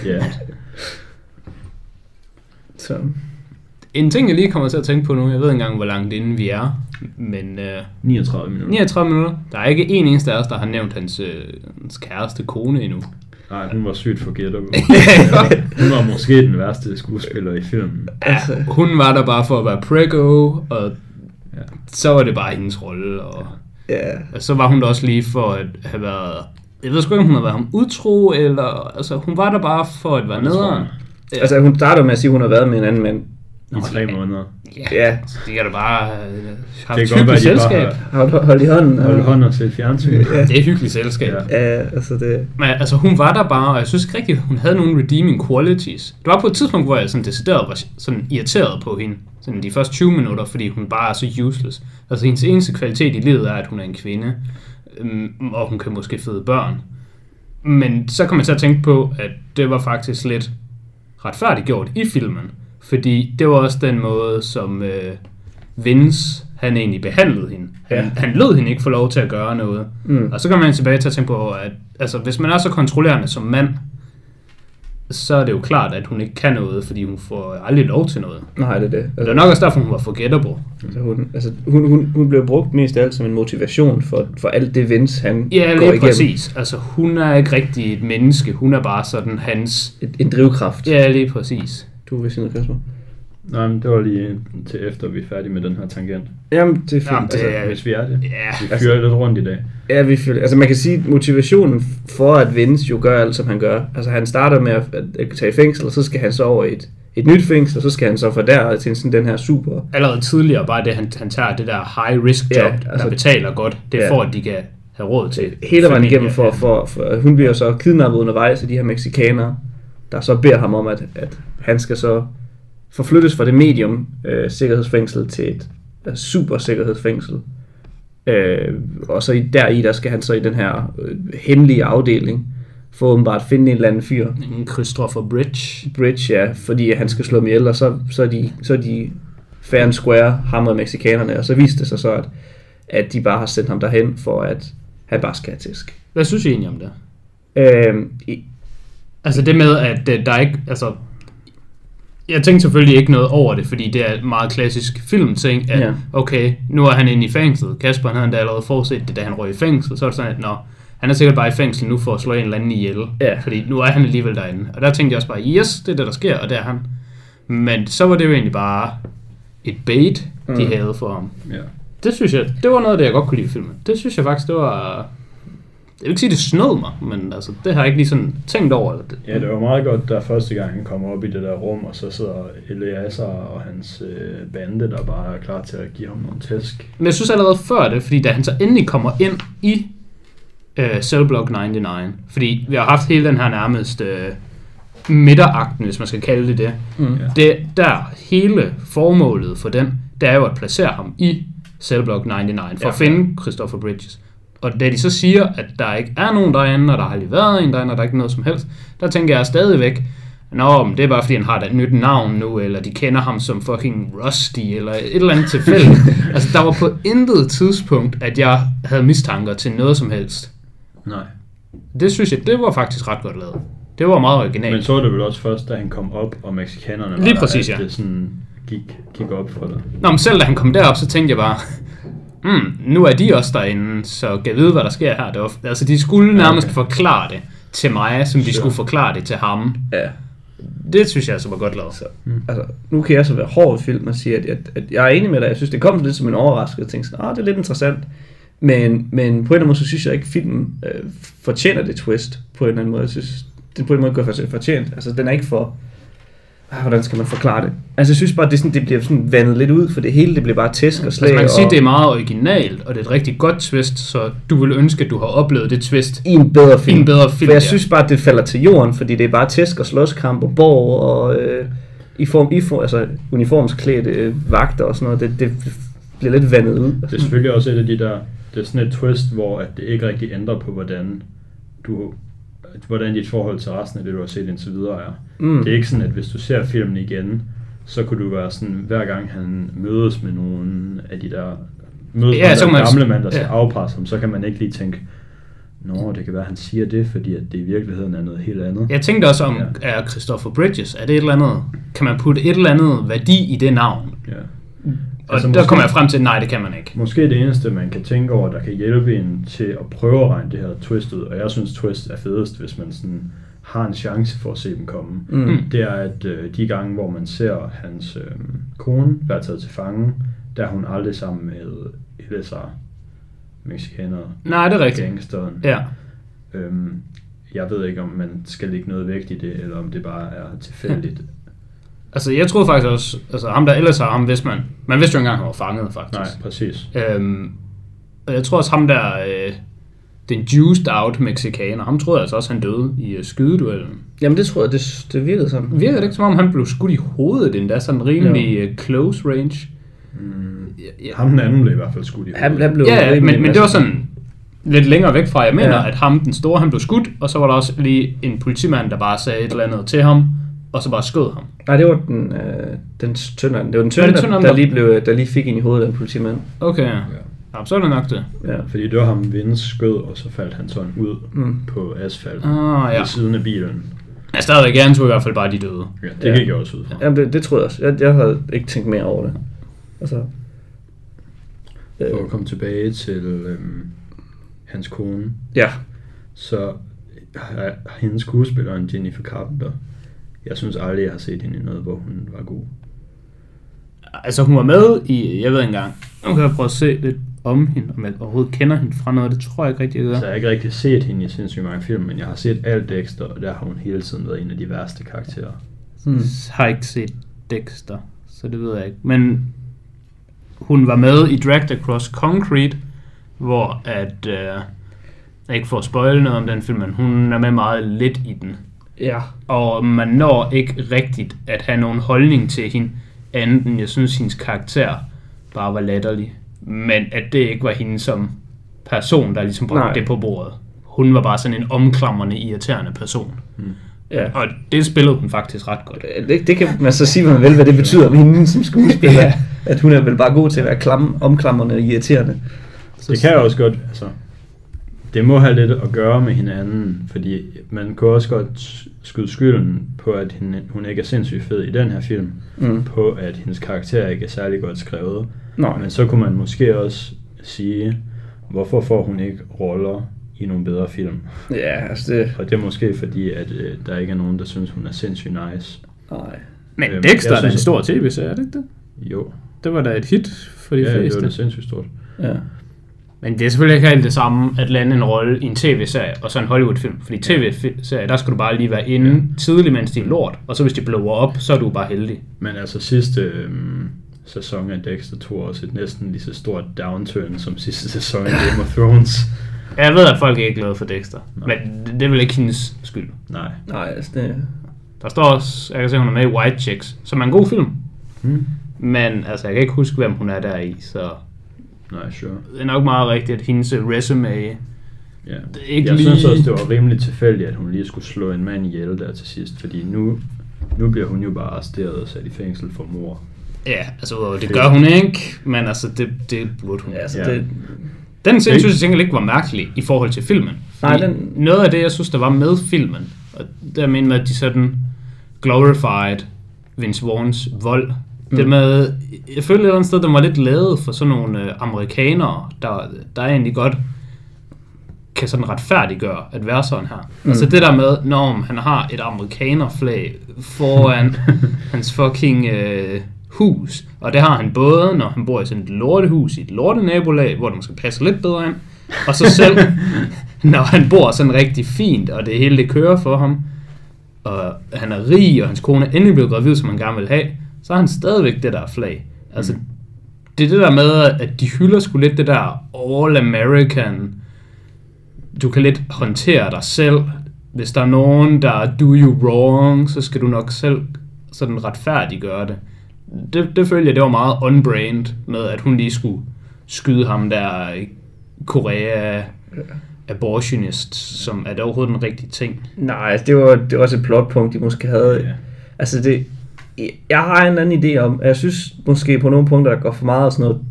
Ja. Så, En ting, jeg lige kommer til at tænke på nu, jeg ved ikke engang, hvor langt inden vi er, men øh, 39 minutter. 39 minutter, der er ikke en eneste af os, der har nævnt hans, øh, hans kæreste kone endnu. Nej, hun var sygt forget up. Hun var måske den værste skuespiller i filmen. Altså. Hun var der bare for at være prego, og Ja. så var det bare hendes rolle, og, ja. og så var hun der også lige for at have været... Jeg ved sgu ikke, om hun havde været ham utro, eller... Altså, hun var der bare for at være Det tror nederen. jeg. Ja. Altså, hun starter med at sige, at hun har været med en anden mand. I tre måneder. Ja. Så det kan da bare øh, have Det et kan godt være, hyggeligt de bare selskab. har Hold, hold i hånden. og- holdt hånd og set fjernsyn. Ja. Det er et hyggeligt selskab. Ja. Ja. Ja, altså det... Men altså, hun var der bare, og jeg synes ikke rigtigt, hun havde nogle redeeming qualities. Det var på et tidspunkt, hvor jeg sådan decideret var sådan irriteret på hende. Sådan de første 20 minutter, fordi hun bare er så useless. Altså, hendes eneste kvalitet i livet er, at hun er en kvinde. Øhm, Og hun kan måske føde børn. Men så kom jeg til at tænke på, at det var faktisk lidt retfærdigt gjort i filmen. Fordi det var også den måde, som øh, Vince, han egentlig behandlede hende. Han, ja. Ja. han lød hende ikke få lov til at gøre noget. Mm. Og så kommer man tilbage til at tænke på, at altså, hvis man er så kontrollerende som mand, så er det jo klart, at hun ikke kan noget, fordi hun får aldrig lov til noget. Nej, det er det. Det er Altså, nok også derfor, hun var forgettable. altså, hun, altså, hun, hun, hun blev brugt mest af alt som en motivation for, for alt det Vince, han Ja, går lige igennem. præcis. Altså, hun er ikke rigtig et menneske. Hun er bare sådan hans... Et, en drivkraft. Ja, lige præcis. Du vil sige noget, Kasper? Nej, men det var lige til efter, vi er færdige med den her tangent. Jamen, det er fint. Jamen, det altså, Ja. Hvis vi er det. Ja, Vi fyrer lidt rundt i dag. Ja, vi føler, altså man kan sige, at motivationen for at Vince jo gør alt, som han gør. Altså han starter med at, at, at tage i fængsel, og så skal han så over i et, et nyt fængsel, og så skal han så fra der til sådan den her super... allerede tidligere, bare det, han, han tager det der high-risk job, Ja, ja, altså, altså- der betaler godt, det er Ja. for, at de kan have råd til Hele vejen familie. igennem for, for, for... Hun bliver jo så kidnappet undervejs af de her meksikanere, der så beder ham om, at, at han skal så forflyttes fra det medium øh, sikkerhedsfængsel til et øh, super sikkerhedsfængsel. Øh, og så i, deri, der skal han så i den her øh, hemmelige afdeling, for åbenbart at finde en eller anden fyr, En Christopher Bridge. Bridge, ja, fordi han skal slå dem ihjel, og så, så, er de, så er de fair and square hamrede mexikanerne, og så viste det sig så, at, at de bare har sendt ham derhen, for at han bare skal have tæsk. Hvad synes I egentlig om det? Øhm, i- Altså det med, at øh, der er ikke, altså... Jeg tænkte selvfølgelig ikke noget over det, fordi det er en meget klassisk filmting, at ja. Ja. okay, nu er han inde i fængslet. Kasper, han havde endda allerede forset det, da han røg i fængsel. Så er det sådan, at nå, han er sikkert bare i fængsel nu for at slå en eller anden ihjel. Ja. Fordi nu er han alligevel derinde. Og der tænkte jeg også bare, yes, det er det, der sker, og det er han. Men så var det jo egentlig bare et bait, de Mm. havde for ham. Ja. Det synes jeg, det var noget af det, jeg godt kunne lide i filmen. Det synes jeg faktisk, det var... Jeg vil ikke sige, det snød mig, men altså, det har jeg ikke lige sådan tænkt over. Ja, det var meget godt, da første gang han kommer op i det der rum, og så sidder Eliasser og hans øh, bande, der bare er klar til at give ham nogle tæsk. Men jeg synes allerede før det, fordi da han så endelig kommer ind i øh, Cellblock 99, fordi vi har haft hele den her nærmest øh, midteragten, hvis man skal kalde det det. Mm. Ja. det. Der hele formålet for den, det er jo at placere ham i Cellblock 99 for ja. Ja. at finde Christopher Bridges. Og da de så siger, at der ikke er nogen derinde, og der har aldrig været en derinde, og der er ikke noget som helst, der tænker jeg stadigvæk, Nå, men det er bare fordi, han har et nyt navn nu, eller de kender ham som fucking Rusty, eller et eller andet tilfælde. altså, der var på intet tidspunkt, at jeg havde mistanker til noget som helst. Nej. Det synes jeg, det var faktisk ret godt lavet. Det var meget originalt. Men så var det vel også først, da han kom op, og mexikanerne var Lige der, præcis, at ja. det sådan gik, gik op for dig. Nå, men selv da han kom derop, så tænkte jeg bare, mm, nu er de også derinde, så kan jeg vide, hvad der sker her. Det var, altså, de skulle nærmest okay. forklare det til mig, som de Sure. skulle forklare det til ham. ja. Det synes jeg altså var godt lavet. Så, altså, nu kan jeg så være hård ved film og sige, at, at, at jeg er enig med dig. Jeg synes, det kom lidt som en overraskelse. Jeg tænkte sådan, ah, det er lidt interessant. Men, men på en eller anden måde, så synes jeg ikke, filmen øh, fortjener det twist på en eller anden måde. Jeg synes, den på en eller anden måde gør fortjent. Altså, den er ikke for... Ah, hvordan skal man forklare det? Altså, jeg synes bare, det, er sådan, det bliver sådan vandet lidt ud, for det hele det bliver bare tæsk og slag. Altså, man kan sige, og, det er meget originalt, og det er et rigtig godt twist, så du vil ønske, at du har oplevet det twist. i en bedre film. I en bedre film, For jeg ja. synes bare, at det falder til jorden, fordi det er bare tæsk og slåskamp og borg og øh, i form, i form, altså uniformsklædte øh, vagter og sådan noget. Det, det bliver lidt vandet ud. Det er selvfølgelig også et af de der, det er sådan et twist, hvor at det ikke rigtig ændrer på, hvordan du hvordan dit forhold til resten af det, du har set indtil videre er. Mm. Det er ikke sådan, at hvis du ser filmen igen, så kunne du være sådan, hver gang han mødes med nogen af de der, mødes Ja, ja, med så den kan der man- gamle mand, der skal ja. afpasse ham, så kan man ikke lige tænke, Nå, det kan være, han siger det, fordi at det i virkeligheden er noget helt andet. Jeg tænkte også om, Ja. er Christopher Bridges, er det et eller andet, kan man putte et eller andet værdi i det navn? Ja. Og Altså, altså, der måske- kommer jeg frem til, nej, det kan man ikke. Måske det eneste, man kan tænke over, der kan hjælpe en til at prøve at regne det her twist ud, og jeg synes, twist er fedest, hvis man sådan har en chance for at se dem komme, Mm. det er, at øh, de gange, hvor man ser hans øh, kone være taget til fange, der er hun aldrig sammen med LSR, mexikaner, Nej, det er rigtigt. gangsteren. Ja. Øhm, jeg ved ikke, om man skal lægge noget vægt i det, eller om det bare er tilfældigt. Altså, jeg troede faktisk også, altså ham der ellers har ham, vidste man. Man vidste jo ikke engang, han var fanget, Nej, faktisk. præcis. Øhm, og jeg tror også ham der, øh, den juiced out mexikaner, ham troede jeg altså også, han døde i øh, skydeduellen. Jamen det tror jeg, det, det virkede sådan. Virkede det ikke som om, han blev skudt i hovedet endda, sådan rimelig øh, close range? Mm. Ja, ja. Ham den anden blev i hvert fald skudt i Han, han hovedet. blev Ja, rimelig men, men det var massivt. sådan lidt længere væk fra. Jeg mener, Ja. ja. at ham, den store, han blev skudt, og så var der også lige en politimand, der bare sagde et eller andet til ham, og så bare skød ham. Nej, det var den, øh, den tønder. Det var den Var det tønder, der, tynderen, der, der- lige blev, øh, der lige fik ind i hovedet af en politimand. Okay, ja. ja så er det nok det. Ja. Fordi det var ham, Vince skød, og så faldt han sådan ud Mm. på asfalt Ah, ja. ved siden af bilen. Jeg stadigvæk, jeg antog i hvert fald bare, de døde. Ja, det Ja. gik jeg også ud fra. Jamen, det, det troede jeg også. Jeg, jeg havde ikke tænkt mere over det. Altså, øh, For at komme tilbage til øhm, hans kone, ja. så har hendes skuespilleren Jennifer Carpenter. Jeg synes aldrig, jeg har set hende i noget, hvor hun var god. Altså, hun var med i, jeg ved ikke engang, nu kan jeg prøve at se lidt om hende, om jeg overhovedet kender hende fra noget, det tror jeg ikke rigtig, jeg Så gør. jeg har ikke rigtig set hende i sindssygt mange film, men jeg har set alt Dexter, og der har hun hele tiden været en af de værste karakterer. Mm. Jeg har ikke set Dexter, så det ved jeg ikke. Men hun var med i Dragged Across Concrete, hvor at, øh, jeg ikke får spoil noget om den film, men hun er med meget lidt i den. Ja. og man når ikke rigtigt at have nogen holdning til hende, andet end jeg synes, hendes karakter bare var latterlig. Men at det ikke var hende som person, der ligesom bragte Nej. det på bordet. Hun var bare sådan en omklamrende, irriterende person. ja. Og det spillede hun faktisk ret godt. Øh, Det, det kan man så sige, hvad man vil, hvad det betyder om hende som skuespiller. Ja. ja. At hun er vel bare god til at være klam, omklamrende og irriterende. Det kan jeg også godt, altså, det må have lidt at gøre med hinanden, fordi man kunne også godt skyde skylden på, at hende, hun ikke er sindssygt fed i den her film, Mm. på at hendes karakter ikke er særlig godt skrevet, Nå, Men så kunne man måske også sige, hvorfor får hun ikke roller i nogle bedre film? ja, altså det... Og det er måske fordi, at øh, der ikke er nogen, der synes, hun er sindssygt nice. Nej. Men Øhm, Dexter jeg er da synes- en stor tv-serie, er det ikke det? Jo, Det var da et hit for de ja, det var fleste. da sindssygt stort. Ja. Men det er selvfølgelig ikke helt det samme at lande en rolle i en tv-serie og så en Hollywood-film. Fordi tv-serie, der skal du bare lige være inde ja. tidligt, mens de er lort. Og så hvis de blower op, så er du bare heldig. Men altså sidste øhm, sæson af Dexter tog også et næsten lige så stort downturn som sidste sæson af Game of Thrones. Jeg ved, at folk ikke er glade for Dexter. Men det, det er vel ikke hendes skyld. Nej. Nej, altså det... Der står også, jeg kan se, hun er med i White Chicks, som er en god film. Hmm. Men altså, jeg kan ikke huske, hvem hun er der i, så Nej, sure. det er nok meget rigtigt, at hendes resume... Ja. Det er ikke jeg lige- synes også, det var rimelig tilfældigt, at hun lige skulle slå en mand ihjel der til sidst, fordi nu, nu bliver hun jo bare arresteret og sat i fængsel for mor. Ja, altså udover det gør hun ikke, men altså det, det burde hun. Ja, altså Ja. ja. det... Den scene synes jeg til gengæld ikke var mærkelig i forhold til filmen. Nej, Fordi den- Noget af det, jeg synes, der var med filmen, og der mener man, at de sådan glorified Vince Vaughns vold. Mm. Det med, jeg følte et eller andet sted, den var lidt lavet for sådan nogle øh, amerikanere, der, der egentlig godt kan sådan retfærdiggøre at være sådan her. Mm. Altså det der med, når han har et amerikanerflag foran hans fucking øh, hus, og det har han både, når han bor i sådan et lortehus i et lortenabolag, hvor det måske passer lidt bedre ind, og så selv, når han bor sådan rigtig fint, og det hele det kører for ham, og han er rig, og hans kone er endelig blevet gravid, som han gerne vil have, så har han stadigvæk det der flag. Altså, mm. det er det der med, at de hylder skulle lidt det der all-American, du kan lidt håndtere dig selv. Hvis der er nogen, der do you wrong, så skal du nok selv sådan retfærdiggøre det. Det, det følte jeg, det var meget on-brand med, at hun lige skulle skyde ham der i Korea abortionist, som er det overhovedet en rigtig ting. Nej, altså det var, det var også et plotpunkt, de måske Øh. havde. Ja. Ja. Altså det... Jeg har en anden idé om, at jeg synes måske på nogle punkter, der går for meget af sådan noget,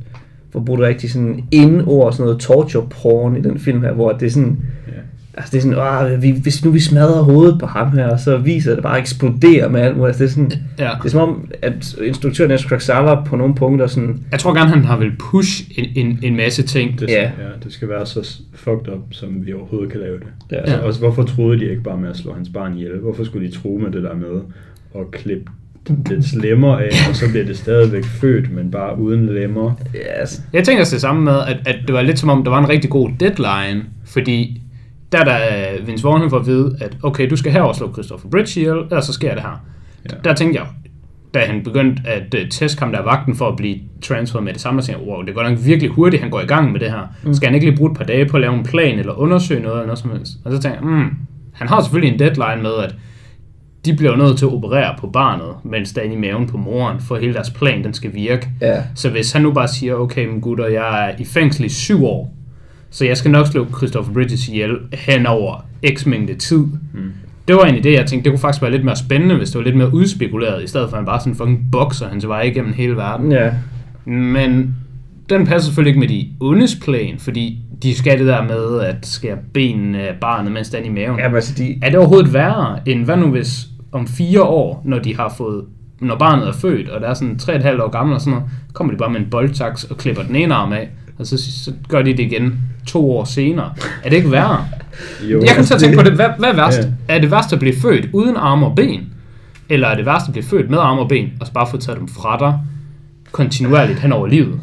for at bruge det rigtigt sådan indord, sådan noget torture porn i den film her, hvor det er sådan, Ja. Altså det er sådan, Åh, vi, hvis nu vi smadrer hovedet på ham her, så viser det bare eksploderer med alt muligt. Altså det er sådan, Ja. det er som om, at instruktøren Jens Kraksala på nogle punkter sådan, Jeg tror gerne, han har vil push en, en, en masse ting. Det, Ja. ja. ja. det skal være så s- fucked up, som vi overhovedet kan lave det. Ja. Ja. Altså, også, hvorfor troede de ikke bare med at slå hans barn ihjel? Hvorfor skulle de tro med det der med at klippe lidt slemmer af, og så bliver det stadigvæk født, men bare uden lemmer? yes. Jeg tænker også det samme med, at, at det var lidt som om, der var en rigtig god deadline, fordi der der øh, Vince Vaughn får at vide, at okay, du skal herover slå Christopher Bridge ihjel, ellers så sker det her. Ja. Ja. Der tænkte jeg, da han begyndte at øh, teste ham der er vagten for at blive transferet med det samme, og tænkte, jeg, wow, det er godt nok virkelig hurtigt, han går i gang med det her. Mm. Skal han ikke lige bruge et par dage på at lave en plan, eller undersøge noget, eller noget som helst? Og så tænkte jeg, mm, han har selvfølgelig en deadline med, at de bliver jo nødt til at operere på barnet, mens der er inde i maven på moren, for hele deres plan, den skal virke. Ja. Så hvis han nu bare siger, okay, men gutter, jeg er i fængsel i syv år, så jeg skal nok slå Christopher Bridges ihjel hen over x mængde tid. Mm. Det var egentlig det, jeg tænkte, det kunne faktisk være lidt mere spændende, hvis det var lidt mere udspekuleret, i stedet for at han bare sådan fucking bokser hans vej igennem hele verden. Ja. Men den passer selvfølgelig ikke med de ondes plan, fordi de skal det der med at skære benene af barnet, mens det er inde i maven. Jamen, altså, de, Er det overhovedet værre, end hvad nu hvis om fire år, når de har fået når barnet er født, og der er sådan 3,5 år gammel og sådan noget, kommer de bare med en boldtaks og klipper den ene arm af, og så, så gør de det igen to år senere. Er det ikke værre? Jo, Jeg kan så tænke på det, hvad, hvad er værst? Ja. Er det værst at blive født uden arme og ben? Eller er det værst at blive født med arme og ben, og så bare få taget dem fra dig kontinuerligt hen over livet?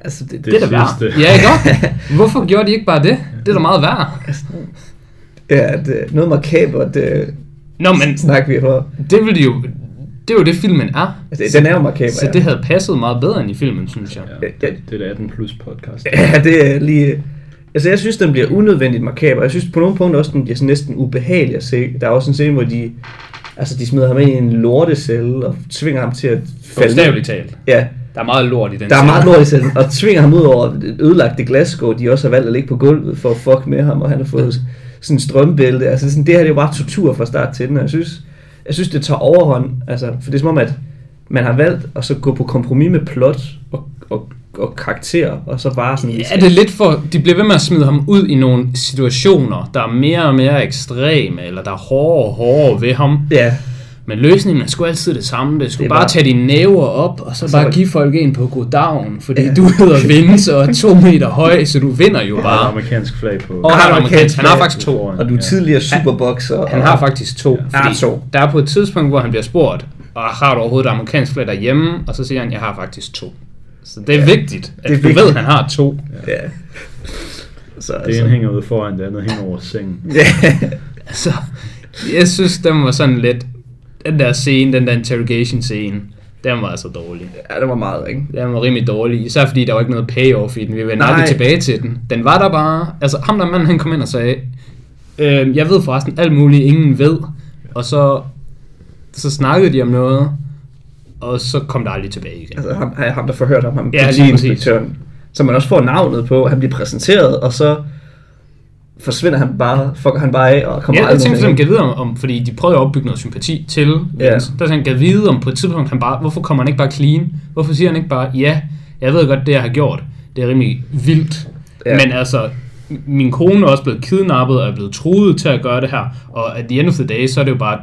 altså, det, Det, det, er da værre. sidste. Ja, ikke også? Hvorfor gjorde de ikke bare det? Det er da meget værre. ja, det, noget makabert, det Nå, men snakker vi for. det ville de jo... Det er jo det, filmen er. Altså, den er jo makaber, Så ja. det havde passet meget bedre end i filmen, synes jeg. Ja, det, det er et 18 plus podcast. Ja, det er lige... Altså, jeg synes, den bliver unødvendigt makaber. Jeg synes på nogle punkter også, den bliver sådan næsten ubehagelig at se. Der er også en scene, hvor de, altså, de smider ham ind i en lortecelle og tvinger ham til at falde. Bogstaveligt talt. Ja, Der er meget lort i den der er serie. meget lort i cellen, og tvinger ham ud over et ødelagte glasskår, de også har valgt at ligge på gulvet for at fuck med ham, og han har fået sådan en strømbælte. Altså, sådan, det her det er jo bare tortur fra start til den, og jeg synes, jeg synes, det tager overhånd. Altså, for det er som om, at man har valgt at så gå på kompromis med plot og, og, og karakter, og så bare sådan... Ja, det er lidt for... De bliver ved med at smide ham ud i nogle situationer, der er mere og mere ekstreme, eller der er hårdere og hårdere ved ham. Ja, Men løsningen er sgu altid det samme. Det skulle det Det er bare, bare- Altså, tage dine næver op, og så, så bare var- give folk en på goddagen, fordi du hedder Vince og er to meter høj, så du vinder jo Der er et bare. amerikansk flag på. Og Han har, han amerikansk. han har amerikansk- faktisk to. Og du er tidligere superboxer. Han og- har faktisk to. Ja. fordi Ah, to. Der er på et tidspunkt, hvor han bliver spurgt, og har du overhovedet et amerikansk flag derhjemme? Og så siger han, jeg har faktisk to. Så det er ja. vigtigt, at Det er du vigtigt. ved, at han har to. Ja. Så, altså. Det altså. ene hænger ude foran, det andet hænger over sengen. Ja. Så jeg synes, den var sådan lidt... Den der scene, den der interrogation scene, den var altså dårlig. ja, det var meget, ikke? Den var rimelig dårlig, især fordi der var ikke noget payoff i den. Vi vendte Nej. aldrig tilbage til den. Den var der bare. Altså ham der manden, han kom ind og sagde, øh, jeg ved forresten alt muligt, ingen ved. Og så, så snakkede de om noget, og så kom der aldrig tilbage igen. Altså ham, ham der forhørte ham, ham Ja, lige politiinspektøren. Som man også får navnet på, han bliver præsenteret, og så forsvinder han bare, fucker han bare af, og kommer Ja, jeg aldrig tænkte sådan, med kan vide om, om, fordi de prøvede at opbygge noget sympati til Ja. Vince. Der sådan, kan vide om på et tidspunkt, han bare, hvorfor kommer han ikke bare clean? Hvorfor siger han ikke bare, ja, jeg ved godt, det jeg har gjort, det er rimelig vildt. Ja. Ja. Men altså, m- min kone er også blevet kidnappet og er blevet truet til at gøre det her. Og at the end of the day, så er det jo bare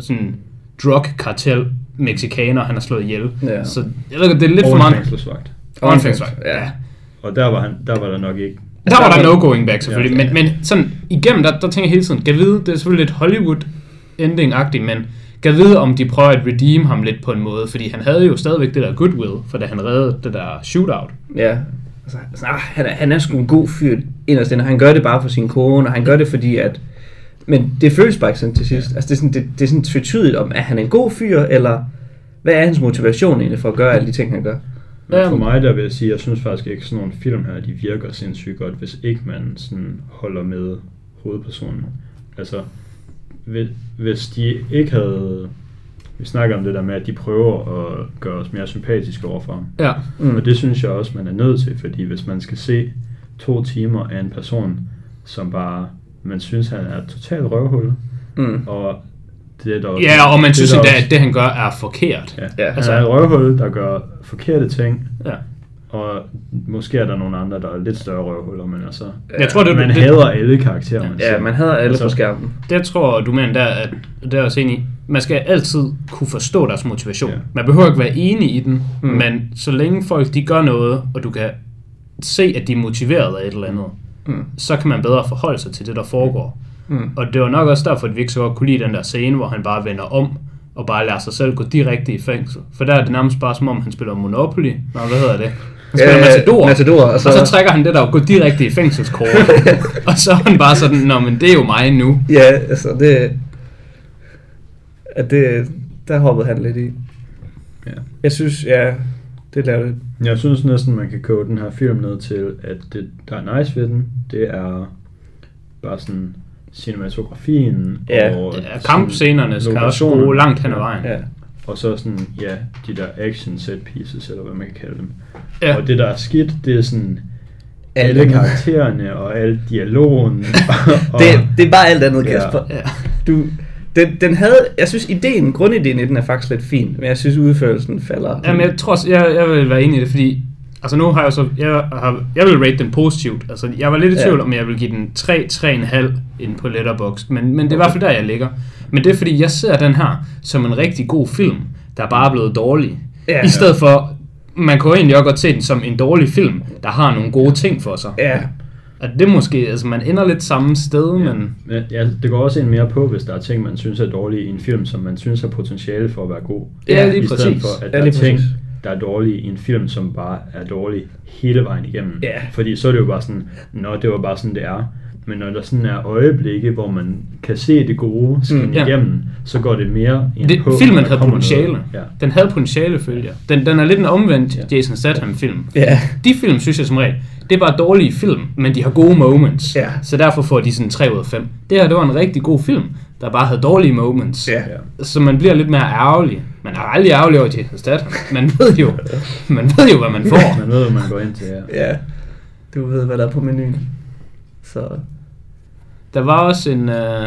sådan drug kartel mexikaner, han har slået ihjel. Ja. Så jeg ved godt, det er lidt Over for en meget. fængselsvagt. Og en fængselsvagt, Ja. ja. Og der var, han, der var der nok ikke. Der var der no going back selvfølgelig, men, men sådan igennem, der, der tænker jeg hele tiden, kan vide, det er selvfølgelig lidt Hollywood ending-agtigt, men kan vide, om de prøver at redeem ham lidt på en måde, fordi han havde jo stadigvæk det der goodwill, for da han reddede det der shootout. Ja. Altså, altså, ah, han, er, han er sgu en god fyr inderst inde, og han gør det bare for sin kone, og han gør det fordi, at... Men det føles bare ikke sådan til sidst. Altså, det er sådan, det, det er sådan tvetydigt om, er han en god fyr, eller hvad er hans motivation egentlig for at gøre alle de ting, han gør? Men for Øhm. mig der vil jeg sige, jeg synes faktisk ikke, sådan nogle film her, de virker sindssygt godt, hvis ikke man sådan holder med hovedpersonen. Altså, hvis, hvis de ikke havde... Vi snakker om det der med, at de prøver at gøre os mere sympatiske overfor ham. Ja. Mm. Og det synes jeg også, man er nødt til, fordi hvis man skal se to timer af en person, som bare, man synes, han er et totalt røvhul, Mm. og det er der også- Ja, og man synes der endda, også- at det han gør er forkert. Ja. Ja. Ja. Altså, han er et røvhul, der gør forkerte ting, Ja. Og måske er der nogle andre, der er lidt større røvhuller, men altså... Jeg tror, det- man det- hader alle karakterer, man Ja, ser. man havde alle Altså, på skærmen. Det tror du mener der, at det er jeg også enig i. Man skal altid kunne forstå deres motivation. Ja. Ja. Man behøver ikke være enig i den, mm. men så længe folk de gør noget, og du kan se, at de er motiveret af et eller andet, Mm. så kan man bedre forholde sig til det, der foregår. Mm. Og det var nok også derfor, at vi ikke så godt kunne lide den der scene, hvor han bare vender om og bare lader sig selv gå direkte i fængsel. For der er det nærmest bare som om, han spiller Monopoly. Nå, hvad hedder det? Han spiller Øh, Matador. Matador, og og, så- så... og så trækker han det der, gå direkte i fængselskort. og så er han bare sådan, nå, men det er jo mig nu. Ja, altså det... At det... Der hoppede han lidt i. Ja. Jeg synes, ja, det lavede Jeg synes næsten, man kan koge den her film ned til, at det, der er nice ved den, det er bare sådan cinematografien Ja, og Ja, sådan kampscenerne skal også lokationerne. gå langt hen ad vejen. Ja. Og så sådan, ja, de der action set pieces, eller hvad man kan kalde dem. Ja. Og det, der er skidt, det er sådan Alt alle, andet. karaktererne og al dialogen. og, Det, det er bare alt andet, Ja. Kasper. Ja. Du, den, den havde, jeg synes ideen, grundideen i den er faktisk lidt fin, men jeg synes udførelsen falder. Jamen, jeg tror, også- jeg, jeg vil være enig i det, fordi... Altså nu har jeg så... Jeg, har, jeg vil rate den positivt. Altså, jeg var lidt i Ja. tvivl, om jeg vil give den 3, 3,5 ind på Letterboxd, men, men det er i hvert fald der, jeg ligger. Men det er, fordi jeg ser den her som en rigtig god film, der bare er blevet dårlig. Ja. Ja, I stedet for... Man kunne egentlig også godt se den som en dårlig film, der har nogle gode ting for sig. Ja, Og det er måske... Altså, man ender lidt samme sted, ja. men... Men ja, det går også en mere på, hvis der er ting, man synes er dårlige i en film, som man synes har potentiale for at være god. Ja, lige I stedet præcis. for, at Ja, der er lige ting, præcis. der er dårlige i en film, som bare er dårlige hele vejen igennem. Ja. Fordi så er det jo bare sådan, nå, det var bare sådan, det er. Men når der sådan er øjeblikke, hvor man kan se det gode skinne Mm, ja. igennem, så går det mere ind det, på, når filmen der havde kommer potentiale. noget. Ja. Ja. Den havde potentiale, følger jeg. Den, den er lidt en omvendt Ja. Jason Statham-film. Ja. De film, synes jeg som regel, det er bare dårlige film, men de har gode moments. Ja. Så derfor får de sådan 3 ud af 5. Det her, det var en rigtig god film, der bare havde dårlige moments. Ja. Så man bliver lidt mere ærgerlig. Man er aldrig ærgerlig over Jason Statham. Man ved jo, man ved jo hvad man får. Man ved, hvad man går ind til. Ja. ja. Du ved, hvad der er på menuen. Så Der var også en, øh,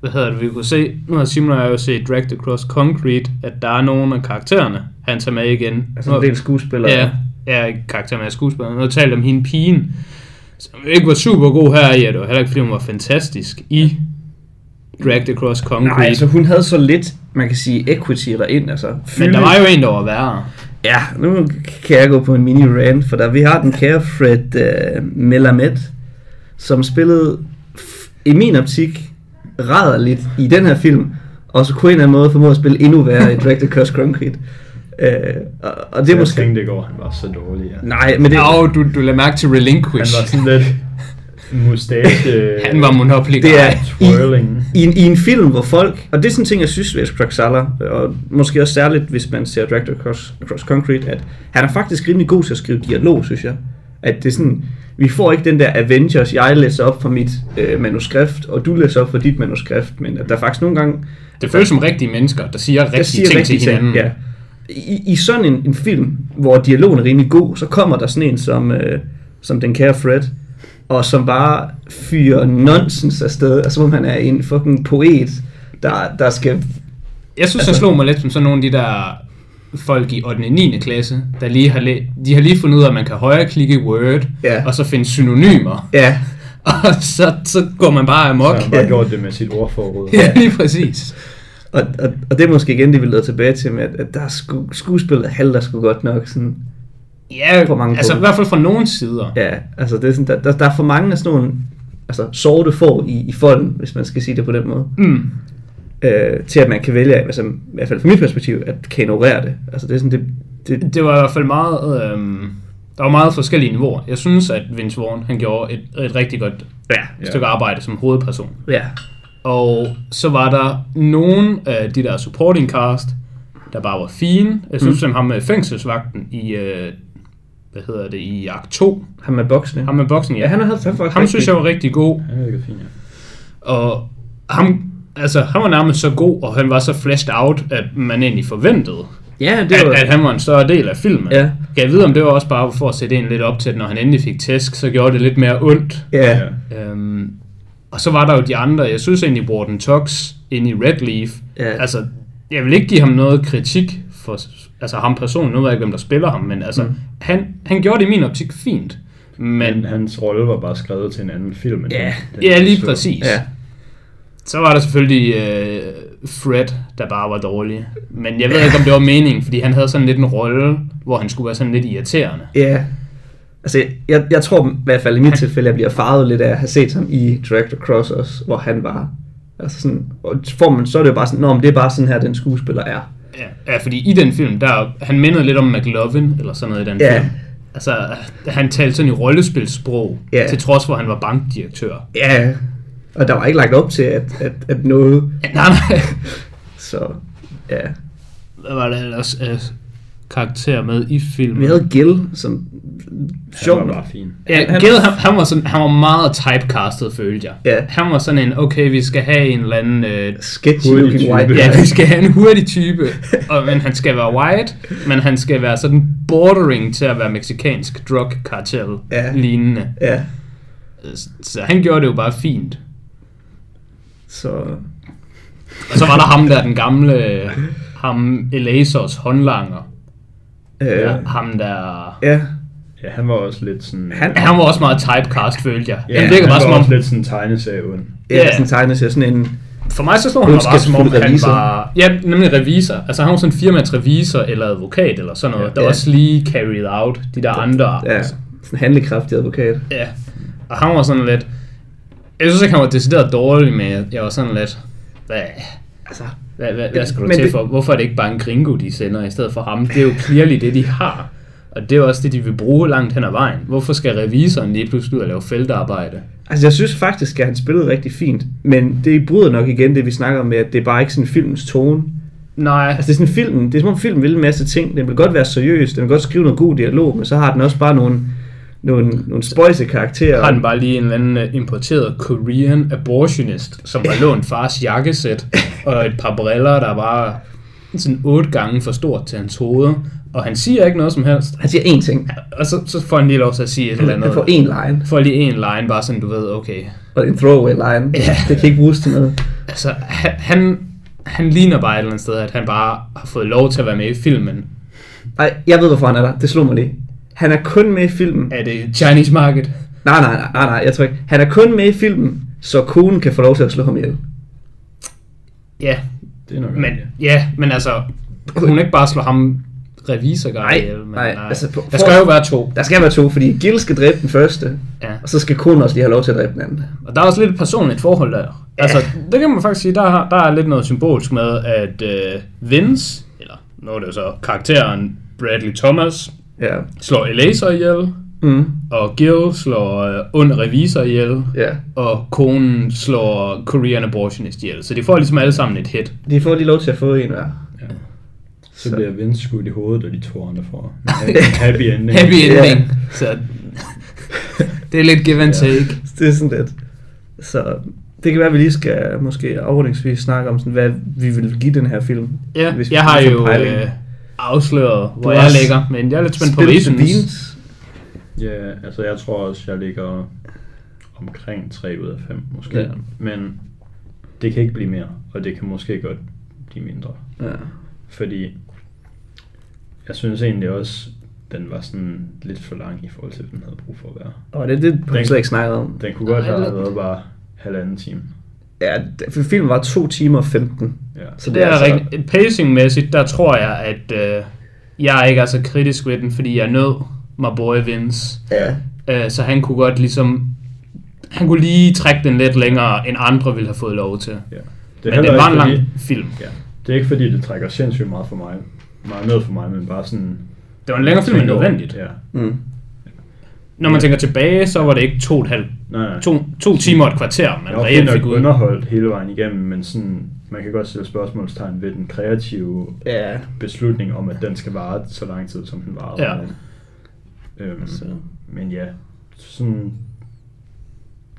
hvad hedder det, vi kunne se, nu har Simon og jeg jo set Dragged Across Concrete, at der er nogle af karaktererne, han tager med igen. altså Nu- en del skuespillere. Ja, ja ikke karakteren af skuespilleren. Nu har jeg talt om hende pigen, som ikke var super god her i, og det var heller ikke fordi hun var fantastisk i Dragged Across Concrete. Nej, altså hun havde så lidt, man kan sige, equity derind, altså. men der var jo en, der var værre. Ja, nu kan jeg gå på en mini rant, for der vi har den kære Fred øh, Melamed, som spillede f- i min optik ræderligt i den her film, og så kunne en eller anden måde formå at spille endnu værre i Dragged Across Concrete. Øh, og, og det er Jeg måske... tænkte i går, han var så dårlig. Ja. Nej, men det... Au, du, du lader mærke til Han Relinquish. var sådan lidt mustache... Han var monopoly Det er twirling. i, i, en, i en film, hvor folk... Og det er sådan en ting, jeg synes ved Kraxala, og måske også særligt, hvis man ser Director Across, Across Concrete, at han er faktisk rimelig god til at skrive dialog, synes jeg. At det er sådan... Vi får ikke den der Avengers, jeg læser op fra mit øh, manuskript, og du læser op fra dit manuskript, men at der faktisk nogle gange... Det føles som rigtige mennesker, der siger rigtige Jeg siger ting rigtige til hinanden. ting, ja. I, I sådan en, en film, hvor dialogen er rimelig god, så kommer der sådan en som, øh, som den kære Fred, og som bare fyrer nonsens afsted, og som om han er en fucking poet, der, der skal... Jeg synes, han Altså- slog mig lidt som sådan nogle af de der folk i 8. og 9. klasse, der lige har, læ- de har lige fundet ud af, at man kan højreklikke i Word, Ja. og så finde synonymer. Ja, Og så, så går man bare amok. Så han bare gjort det med sit ordforråd. Ja, lige præcis. og, og, og det er måske igen det, vi leder tilbage til, med, at, at der er sku, skuespillet halter sgu godt nok. Sådan, Ja, På mange altså i punkter. hvert fald fra nogen sider. Ja. ja, altså det er sådan, der, der, der er for mange af sådan nogle altså, sorte får i, i folden, hvis man skal sige det på den måde. Mm. øh, til at man kan vælge, altså, i hvert fald fra mit perspektiv, at kan ignorere det. Altså det er sådan, det, det Det var i hvert fald meget... Øhm, der var meget forskellige niveauer. Jeg synes, at Vince Vaughn han gjorde et, et rigtig godt ja, ja. stykke arbejde som hovedperson. ja, Og så var der nogle af de der supporting cast, der bare var fine. Jeg synes, mm. ham med fængselsvagten i... Øh, hvad hedder det? I akt 2. ham med boksene. Ham med boksen, ja. ja, han har haft han faktisk ham synes jeg var rigtig god. Han virker fint, ja. Og ham, altså, han var nærmest så god, og han var så flashed out, at man egentlig forventede, Ja, det var, at, at han var en større del af filmen. Ja. Kan jeg vide, om det var også bare for at sætte en lidt op til, at når han endelig fik tæsk, så gjorde det lidt mere ondt. ja, ja. Øhm, og så var der jo de andre. Jeg synes egentlig, Warden Tox ind i Red Leaf. Ja. Altså, jeg vil ikke give ham noget kritik for altså ham personen. Nu ved jeg ikke, hvem der spiller ham, men altså, Mm. mm. han, han gjorde det i min optik fint. Men Men hans rolle var bare skrevet til en anden film. end Ja, den- den ja lige så. præcis. Ja. Ja. Så var der selvfølgelig øh, Fred, der bare var dårlig. Men jeg ved ikke, om det var meningen, fordi han havde sådan lidt en rolle, hvor han skulle være sådan lidt irriterende. Ja. Altså, jeg, jeg tror i hvert fald i mit tilfælde, jeg bliver farvet lidt af at have set ham i Director Cross også, hvor han var... Altså sådan, og får man, så er det jo bare sådan, Nå, men det er bare sådan her, den skuespiller er. Ja, ja fordi i den film, der han mindede lidt om McLovin, eller sådan noget i den Ja. film. Altså, han talte sådan i rollespilsprog, Ja. til trods for, at han var bankdirektør. Ja, og der var ikke lagt op til, at, at, at noget... Ja, nej, nej. Så, ja. Hvad var der ellers øh, karakter med i filmen? Vi havde Gil, som... Han Sjovt var nok. bare fin. Ja, Han- Gade, han, han, var sådan, han var meget typecastet, følte jeg. Ja. Han var sådan en, okay, vi skal have en eller anden... Øh, Sketchy Hurtig looking type. white ja, guy. vi skal have en hurtig type, og, men han skal være white, men han skal være sådan bordering til at være meksikansk drug cartel Ja. lignende. Ja, Så han gjorde det jo bare fint. så... Og så var der ham der, den gamle, øh, ham Elazos håndlanger. Øh, Ja. ja. Ham der... ja. Ja, han var også lidt sådan... Han- Han var også meget typecast, følte jeg. ja, han virker han bare var som om, også lidt sådan tegneserieund. Ja, Ja. sådan tegner sig sådan en... For mig så slår han mig bare som om, Ondskabsfuld han revisor. var... Ja, nemlig revisor. Altså han var sådan en firmarevisor eller advokat eller sådan noget, Ja. ja, der Ja. også lige carried out de der andre. Ja, sådan en handlekraftig advokat. ja. Og han var sådan lidt... Jeg synes ikke, han var decideret dårlig, men jeg- jeg var sådan lidt... Hvad, Altså, hvad, hvad, hvad skal du Men til det- for? Hvorfor er det ikke bare en gringo, de sender i stedet for ham? Det er jo clearly det, de har. Og det er jo også det, de vil bruge langt hen ad vejen. Hvorfor skal revisoren lige pludselig ud og lave feltarbejde? altså, jeg synes faktisk, at han spillede rigtig fint, men det bryder nok igen det, vi snakker om med, at det er bare ikke sådan filmens tone. Nej, Altså, det er sådan filmen, det er som om filmen vil en masse ting. Den vil godt være seriøs, den vil godt skrive noget god dialog, men så har den også bare nogle, nogle, nogle spøjse karakterer. har den bare lige en eller anden øh, importeret Korean abortionist, som har lånt fars jakkesæt og et par briller, der var sådan otte gange for stort til hans hoved. Og han siger ikke noget som helst. Han siger én ting. Og så, så får han lige lov til at sige et eller Han andet. får én line, Får lige en line, bare sådan, du ved, okay. og det er en throwaway line. Ja. Det kan ikke bruges til noget. Altså, han, han, han ligner bare et eller andet sted, at han bare har fået lov til at være med i filmen. Nej, jeg ved, hvorfor han er der. Det slog mig lige. Han er kun med i filmen. Er det Chinese Market? Nej, nej, nej, nej, nej, jeg tror ikke. Han er kun med i filmen, så konen kan få lov til at slå ham ihjel. Ja, Det er nok men, rigtigt. ja, men altså, kunne hun ikke bare slå ham revisor Nej, ihjel? Men nej, altså, på- der skal jo være to. Der skal være to, fordi Gil skal dræbe den første, Ja. og så skal konen også lige have lov til at dræbe den anden. Og der er også lidt et personligt forhold der. Ja. Altså, det kan man faktisk sige, der, har- der er lidt noget symbolsk med, at øh, Vince, eller nu er det jo så karakteren Bradley Thomas, Ja. slår Elazar ihjel, Mm. og Gil slår øh, ond revisor ihjel, Ja. og konen slår Korean abortionist ihjel. Så de får ligesom alle sammen et hit. De får lige lov til at få en hver. Så bliver Vince skudt i hovedet, og de to andre får en ha- happy ending. Happy Ja. ending. Så det er lidt give and take. Så Det er sådan lidt. Så det kan være, at vi lige skal måske afrundingsvis snakke om, sådan, hvad vi vil give den her film. Ja, Hvis vi jeg har får jo pejling. øh, afsløret, hvor Du jeg har ligger, men jeg er lidt spændt på, Spil hvad I til synes. Beans. Ja, altså jeg tror også, jeg ligger omkring 3 ud af 5 måske. Ja. Ja. Men det kan ikke blive mere, og det kan måske godt blive mindre. Ja. Fordi jeg synes egentlig også, den var sådan lidt for lang i forhold til, hvad den havde brug for at være. Og det, det har vi Den- slet ikke snakket om. Den kunne godt Nej, have lad- været bare halvanden time. Ja, det- for filmen var 2 timer og 15. Ja. altså- Så altså- Det er rigtigt. Pacing-mæssigt, der tror jeg, at øh, jeg ikke er så kritisk ved den, fordi jeg nød my boy Vince. Ja. Øh, så han kunne godt ligesom... Han kunne lige trække den lidt længere, end andre ville have fået lov til. ja. Det er men heller det var en ikke lang fordi- film. Ja. Det er ikke fordi, det trækker sindssygt meget for mig. Meget ned for mig, men bare sådan... Det var en længere film end Tænker over- nødvendigt. Ja. Mm. Når man tænker tilbage, så var det ikke to, og et halvt, Nej, nej. to, to timer og et kvarter, man Jeg var reelt fik fint nok ud. underholdt hele vejen igennem, men sådan, man kan godt stille spørgsmålstegn ved den kreative Ja. beslutning om, at den skal vare så lang tid, som den varer. Ja. Altså. Øhm, Så. men ja, sådan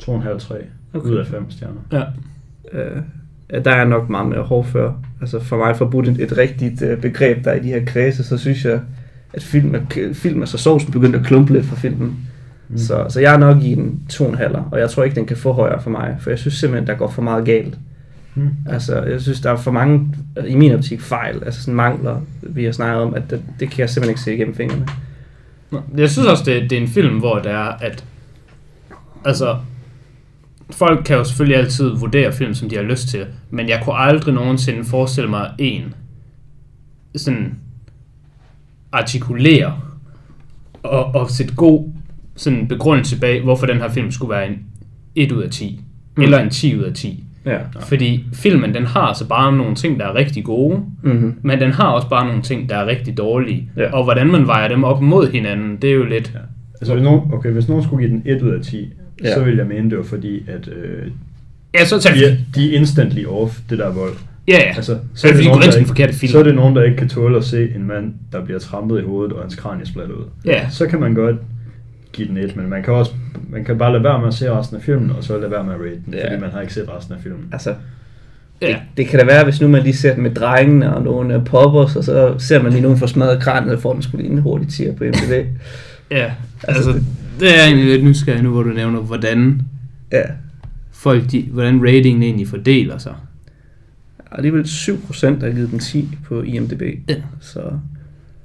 2,5-3 okay. ud af 5 stjerner. Ja. Øh, ja, der er nok meget mere hård før. Altså for mig forbudt et, et rigtigt øh, begreb, der er i de her kredse, så synes jeg, at film er, k- film er så sovsen begyndt at klumpe lidt fra filmen. Mm. Så, så jeg er nok i en tonhaller, og jeg tror ikke, den kan få højere for mig, for jeg synes simpelthen, der går for meget galt. Mm. Altså, jeg synes, der er for mange, øh, i min optik, fejl, altså sådan mangler, vi har snakket om, at det, det kan jeg simpelthen ikke se igennem fingrene. Jeg synes også, det, det er en film, hvor det er, at... Altså, folk kan jo selvfølgelig altid vurdere film, som de har lyst til, men jeg kunne aldrig nogensinde forestille mig en sådan artikulere og, og sætte god sådan begrundelse bag, hvorfor den her film skulle være en 1 ud af 10, mm. eller en 10 ud af 10. Ja. Fordi filmen, den har så bare nogle ting, der er rigtig gode, Mm-hmm. men den har også bare nogle ting, der er rigtig dårlige. Ja. Og hvordan man vejer dem op mod hinanden, det er jo lidt... Ja. Altså, hvis nogen, okay, hvis nogen skulle give den 1 ud af 10, Ja. ja. så ville jeg mene, det var fordi, at øh, Ja, så tager de, yeah. er- de er instantly off, det der er vold. Ja, ja. Altså, så er det fordi, du nogen, går ind der til den ikke- forkerte film. Så er det nogen, der ikke kan tåle at se en mand, der bliver trampet i hovedet, og hans kranie splatter ud. Ja. Så kan man godt give den et, men man kan også man kan bare lade være med at se resten af filmen, og så lade være med at rate den, Ja. ja. fordi man har ikke set resten af filmen. Altså, ja. det kan da være, hvis nu man lige ser den med drengene og nogle øh, poppers, og så ser man lige nogen for smadret kranet, og får den skulle lige en hurtig tier på MDB. ja. Altså, det er jeg egentlig lidt nysgerrig nu, hvor du nævner, hvordan ja. folk, de, hvordan ratingen egentlig fordeler sig. Og alligevel 7% der har givet den 10 på IMDB. Ja. Så,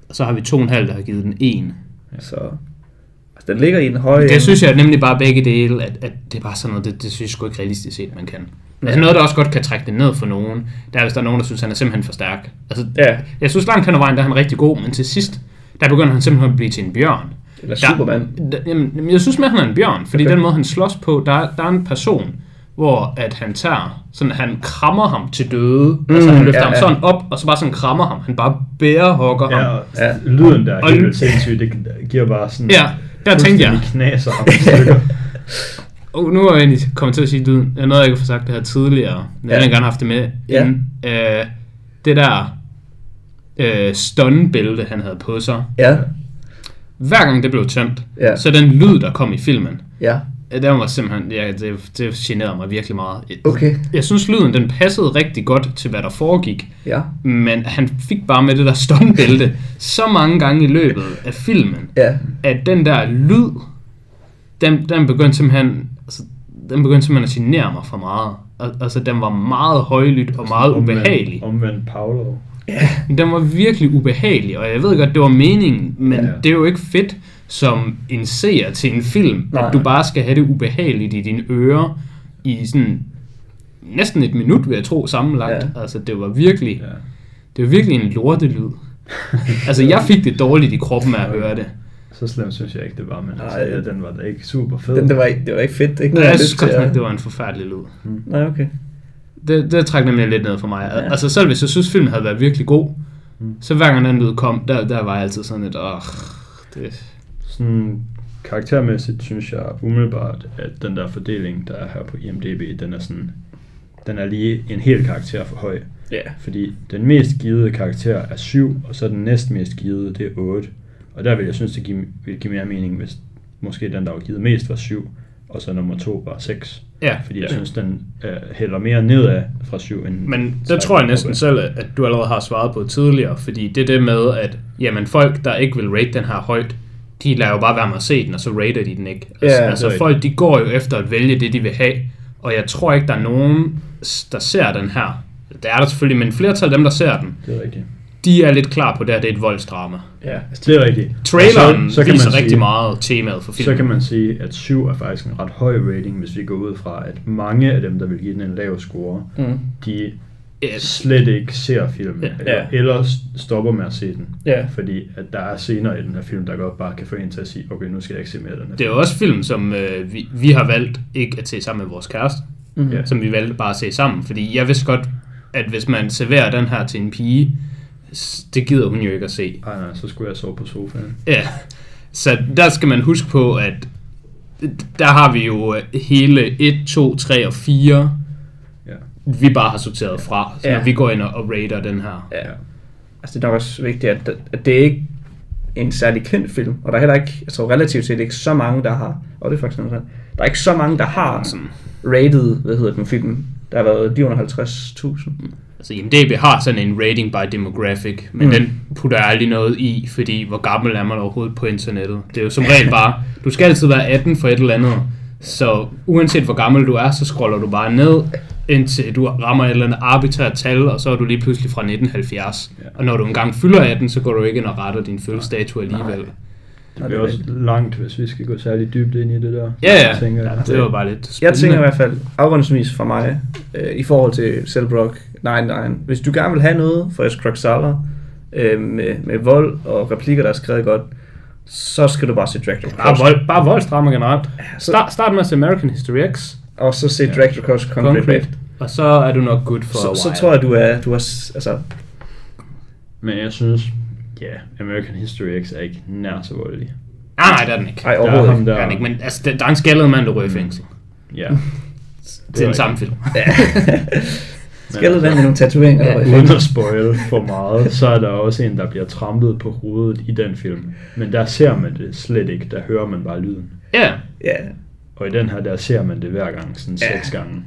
Og så har vi to og en halv, der har givet den en. så altså, den ligger i en høj... Det synes jeg nemlig bare begge dele, at, at det er bare sådan noget, det, det synes jeg sgu ikke realistisk set, man kan. Altså noget, der også godt kan trække det ned for nogen, der er, hvis der er nogen, der synes, han er simpelthen for stærk. Altså, Ja. Jeg synes langt hen ad vejen, der er han rigtig god, men til sidst, der begynder han simpelthen at blive til en bjørn. Eller Der- Superman. Der, jamen, jamen, jeg synes mere, han er en bjørn, fordi Okay. okay. den måde, han slås på, der, er- der er en person, hvor at han tager, sådan han krammer ham til døde, mm, altså han løfter ja, ham ja. sådan op, og så bare sådan krammer ham, han bare bærehugger Ja, ham. og Ja. lyden der er Og helt lyd- vildt sindssygt, det giver bare sådan... Ja, der tænkte jeg, fuldstændig knaser ham i stykker. oh, nu er jeg egentlig kommet til at sige lyden, jeg nåede ikke at få sagt det her tidligere, men Ja. jeg ville gerne have haft det med, Ja. inden, øh, det der øh, stunbælte, han havde på sig, Ja, hver gang det blev tømt, Ja. så den lyd, der kom i filmen, ja. Ja, Den var simpelthen, ja, det, det generede mig virkelig meget. Okay. Jeg synes, lyden den passede rigtig godt til, hvad der foregik, Ja. men han fik bare med det der stuntbælte så mange gange i løbet af filmen, Ja. at den der lyd, den, den begyndte simpelthen, altså, den begyndte simpelthen at genere mig for meget. Al- Altså, den var meget højlydt og meget ubehagelig. Omvendt Paolo. Den var virkelig ubehagelig, og jeg ved godt, det var meningen, men Ja. ja. det er jo ikke fedt som en seer til en film, Nej. Nej. at du bare skal have det ubehageligt i dine ører i sådan næsten et minut, vil jeg tro, sammenlagt. Ja. Ja. Altså, det var virkelig, ja. Ja. det var virkelig en lortelyd. altså, jeg fik det dårligt i kroppen af at høre det. Så slemt synes jeg ikke, det var, men altså, Ej. ja, den var da ikke super fed. Den, det, var, ikke- det var ikke fedt. Det er Ja, Ikke noget, jeg har synes lyst til godt at- nok, det var en forfærdelig lyd. Nej, okay. Det, det trak nemlig lidt ned for mig. Ja. Mm. Ja. Altså, selv hvis jeg synes, filmen havde været virkelig god, så hver gang den lyd kom, der, der var jeg altid sådan lidt, åh, det... Sådan karaktermæssigt synes jeg umiddelbart, at den der fordeling, der er her på IMDb, den er sådan, den er lige en hel karakter for høj. Ja. Fordi den mest givede karakter er 7, og så den næst mest givede, det er 8. Og der vil jeg synes, det give, vil give mere mening, hvis måske den, der var givet mest, var 7, og så nummer 2 var 6. Ja, Fordi jeg ja. synes, den øh, hælder mere nedad fra 7 end... Men der sejler tror jeg næsten opad. selv, at du allerede har svaret på tidligere, fordi det er det med, at jamen, folk, der ikke vil rate den her højt, de lader jo bare være med at se den, og så rater de den ikke. Altså, Ja, altså det er folk, de går jo efter at vælge det, de vil have, og jeg tror ikke, der er nogen, s- der ser den her. Der er der selvfølgelig, men flertal af dem, der ser den, Det er rigtigt. de er lidt klar på det, at det er et voldsdrama. Ja. Det er rigtigt. Altså, Traileren Og så, så viser sige- rigtig meget temaet for filmen. Så kan man sige, at 7 er faktisk en ret høj rating, hvis vi går ud fra, at mange af dem, der vil give den en lav score, Mm. de Ja, slet ikke ser filmen, Ja. eller, eller s- stopper med at se den. Ja. Fordi at der er scener i den her film, der godt bare kan få en til at sige, okay, nu skal jeg ikke se mere af den her Det er jo også film, som øh, vi, vi har valgt ikke at se sammen med vores kæreste. Mhm. Mm. Som vi valgte bare at se sammen. Fordi jeg vidste godt, at hvis man serverer den her til en pige, s- det gider hun jo ikke at se. film. Ej, nej, så skulle jeg sove på sofaen. Ja. Så der skal man huske på, at der har vi jo øh, hele 1, 2, 3 og 4, Ja. vi bare har sorteret fra, så Ja. når vi går ind og, og rater den her. Ja. Altså, det er nok også vigtigt, at, at det er ikke en særlig kendt film, og der er heller ikke, jeg tror relativt set, ikke så mange, der har, og det er faktisk noget sådan, der er ikke så mange, der har sådan rated, hvad hedder den film, der har været lige under 50.000. Altså IMDB har sådan en rating by demographic, men Mm. mm. den putter jeg aldrig noget i, fordi hvor gammel er man overhovedet på internettet? Det er jo som regel bare, du skal altid være 18 for et eller andet, så uanset hvor gammel du er, så scroller du bare ned, indtil du rammer et eller andet arbitrært tal, og så er du lige pludselig fra 1970. Ja. Og når du engang fylder 18, så går du ikke ind og retter din fødselsdato alligevel. Nej. Det bliver også langt, hvis vi skal gå særlig dybt ind i det der. Ja, ja. Jeg tænker, ja, Det var bare lidt Jeg spændende. tænker i hvert fald, afgrundsvis for mig, øh, i forhold til Selbrock 99, hvis du gerne vil have noget for Escroxala, øh, med, med vold og replikker, der er skrevet godt, så skal du bare se Dracula Bare, Cross. Ah, vold, bare voldsdrama generelt. så- Start, start med at se American History X, Og så se Dracula Cross Concrete. Concrete, Concrete. og så er du nok good for a Så, while. så tror jeg, du er, du er s- altså, Men jeg synes, ja, American History X er ikke nær så voldelig. Nej, nej, det er den ikke. ej, Ej, Der er overhovedet ham ikke. der... er den ikke, men altså, der, der er en skaldet mand, der ryger i fængsel. Ja. Det er den samme film. Skældet den med nogle tatoveringer. der var i Uden fængsel. at spoil for meget, så er der også en, der bliver trampet på hovedet i den film. Men der ser man det slet ikke, der hører man bare lyden. Ja, Ja, Og i den her, der ser man det hver gang, sådan Ja. seks gange.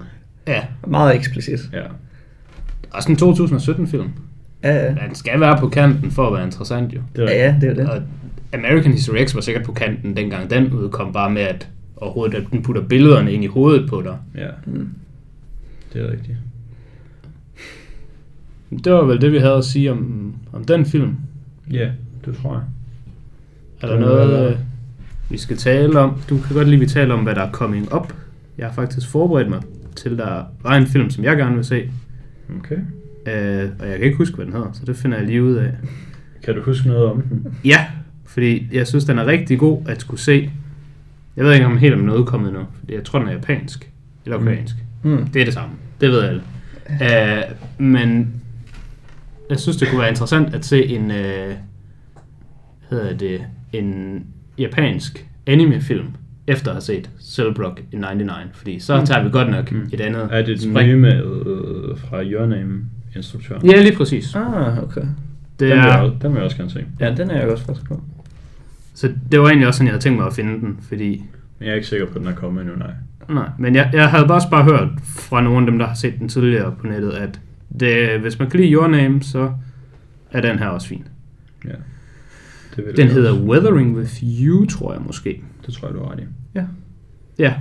ja. meget eksplicit. Ja. Også en 2017-film. Ja, ja. Den skal være på kanten for at være interessant, jo. Det er Ja, ja, det er jo det. Og American History X var sikkert på kanten, dengang den udkom, bare med at overhovedet, at den putter billederne ind i hovedet på dig. Ja. Mm. Det er rigtigt. Det var vel det, vi havde at sige om, om den film. Ja, det tror jeg. Er der Den noget, er- øh, vi skal tale om? Du kan godt lide, at vi taler om, hvad der er coming up. Jeg har faktisk forberedt mig til, der var en film, som jeg gerne vil se. Okay. Øh, og jeg kan ikke huske, hvad den hedder, så det finder jeg lige ud af. Kan du huske noget om den? Ja, fordi jeg synes, den er rigtig god at skulle se. Jeg ved ikke om helt om den er udkommet nu, fordi jeg tror, den er japansk. Eller koreansk. Mm. Det er det samme. Det ved alle. Øh, men jeg synes, det kunne være interessant at se en, øh, hvad hedder det, en japansk animefilm, efter at have set Cellblock i 99, fordi så tager vi godt nok et andet Er Mm. det den spring. nye med øh, fra Your Name, instruktøren? Ja, lige præcis. Ah, okay. Det Den, er, vil jeg, den vil jeg også gerne se. Ja, den er jeg også frisk på. så det var egentlig også sådan, jeg havde tænkt mig at finde den, fordi Men jeg er ikke sikker på, at den er kommet endnu, nej. Nej, men jeg, jeg havde bare også bare hørt fra nogle af dem, der har set den tidligere på nettet, at det, hvis man kan lide Your Name, så er den her også fin. Ja. Det vil Den jeg hedder også. Weathering With You, tror jeg måske. Det tror jeg, du har ret i. Ja,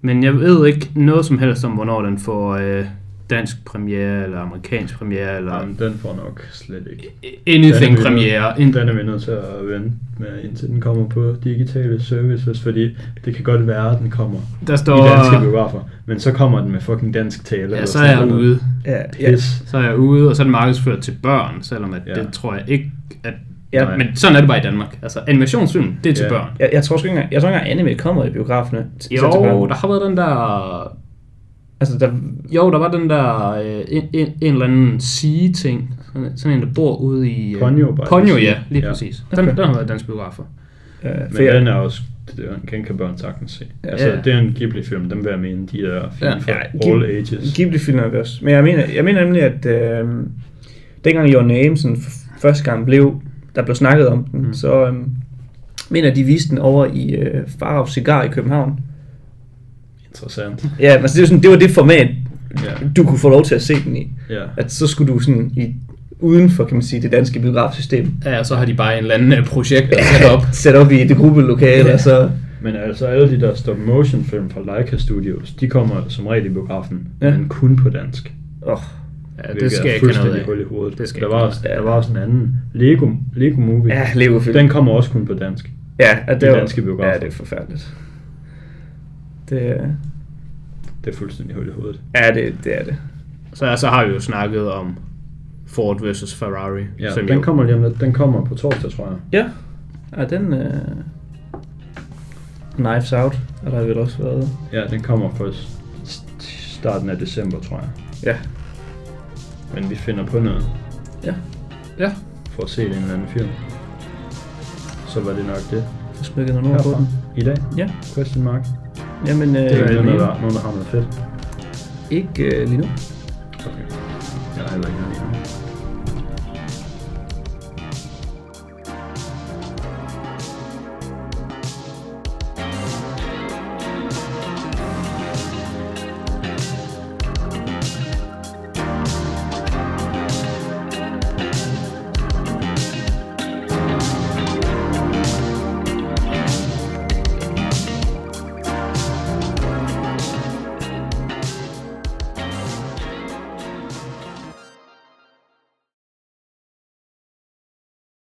men jeg ved ikke noget som helst om, hvornår den får øh, dansk premiere, eller amerikansk premiere, eller Jamen, den får nok slet ikke. anything Den er vi premiere. nødt- In- Den er vi nødt til at vente med, indtil den kommer på digitale services, fordi det kan godt være, at den kommer der i danske står... biografer, men så kommer den med fucking dansk tale. Ja, eller så sådan er jeg noget. ude. Ja, ja. Pis. Så er jeg ude, og så er den markedsført til børn, selvom at ja. Ja. det tror jeg ikke, at... Ja. Ja, men sådan er det bare i Danmark. Altså, animationsfilm, det er til Ja. børn. Jeg, jeg, tror sgu ikke engang, jeg tror ikke engang anime kommer i biograferne. til- Jo, selv til børn. der har været den der... Altså, der, Jo, der var den der... Øh, en, en, en eller anden sige-ting. Sådan, sådan en, der bor ude i... Øh, Ponyo, bare Ponyo, lige ja, lige sige. Ja. præcis. Den, den har været i danske biografer. øh, Men for jeg- den er også, det er- den kan børn sagtens se. Ja. Altså, Ja. det er en Ghibli-film, dem vil jeg mene, de er fine Ja. for Ja, all ages. Ghibli-film er vi også. Men jeg mener, jeg mener nemlig, at øh, dengang Your Name sådan, f- første gang blev, der blev snakket om den, mm. så øh, mener jeg, de viste den over i øh, Farov Cigar i København. Interessant. Ja, men altså, det, var sådan, det var det format, Ja, du kunne få lov til at se den i. ja. At så skulle du sådan i, uden for, kan man sige, det danske biografsystem, Ja, og så har de bare en eller anden øh, projekt, der sat op. sætte op i et gruppelokale, og så... Men altså alle de der stop motion film fra Leica Studios, de kommer som regel i biografen, Ja. ja. men kun på dansk. Oh, Ja, det hvilket skal er jeg ikke have noget fuldstændig af. hul i hovedet. Det skal der, jeg var ikke også, noget af. der var også en anden Lego, Lego Movie. ja, Lego-film. Den kommer også kun på dansk. ja, de at det var- danske biografer. Ja, det er forfærdeligt. Det, er- Det er fuldstændig hul i hovedet. ja, det, det er det. Så, så har vi jo snakket om Ford versus Ferrari. Ja, som den jo, kommer lige om lidt. Den kommer på torsdag, tror jeg. Ja. Ja, den... Øh... Knives Out har der vel også været. Ja, den kommer først st- starten af december, tror jeg. Ja. Men vi finder på noget Ja. Ja, for at se en eller anden film. Så var det nok det Så smækker noget ord på herfra den. i dag. Ja. Question mark. Jamen, øh, Det er ikke noget, ikke, der, nogen, der har noget fedt. ikke øh, lige nu. Okay. Jeg har heller ikke noget.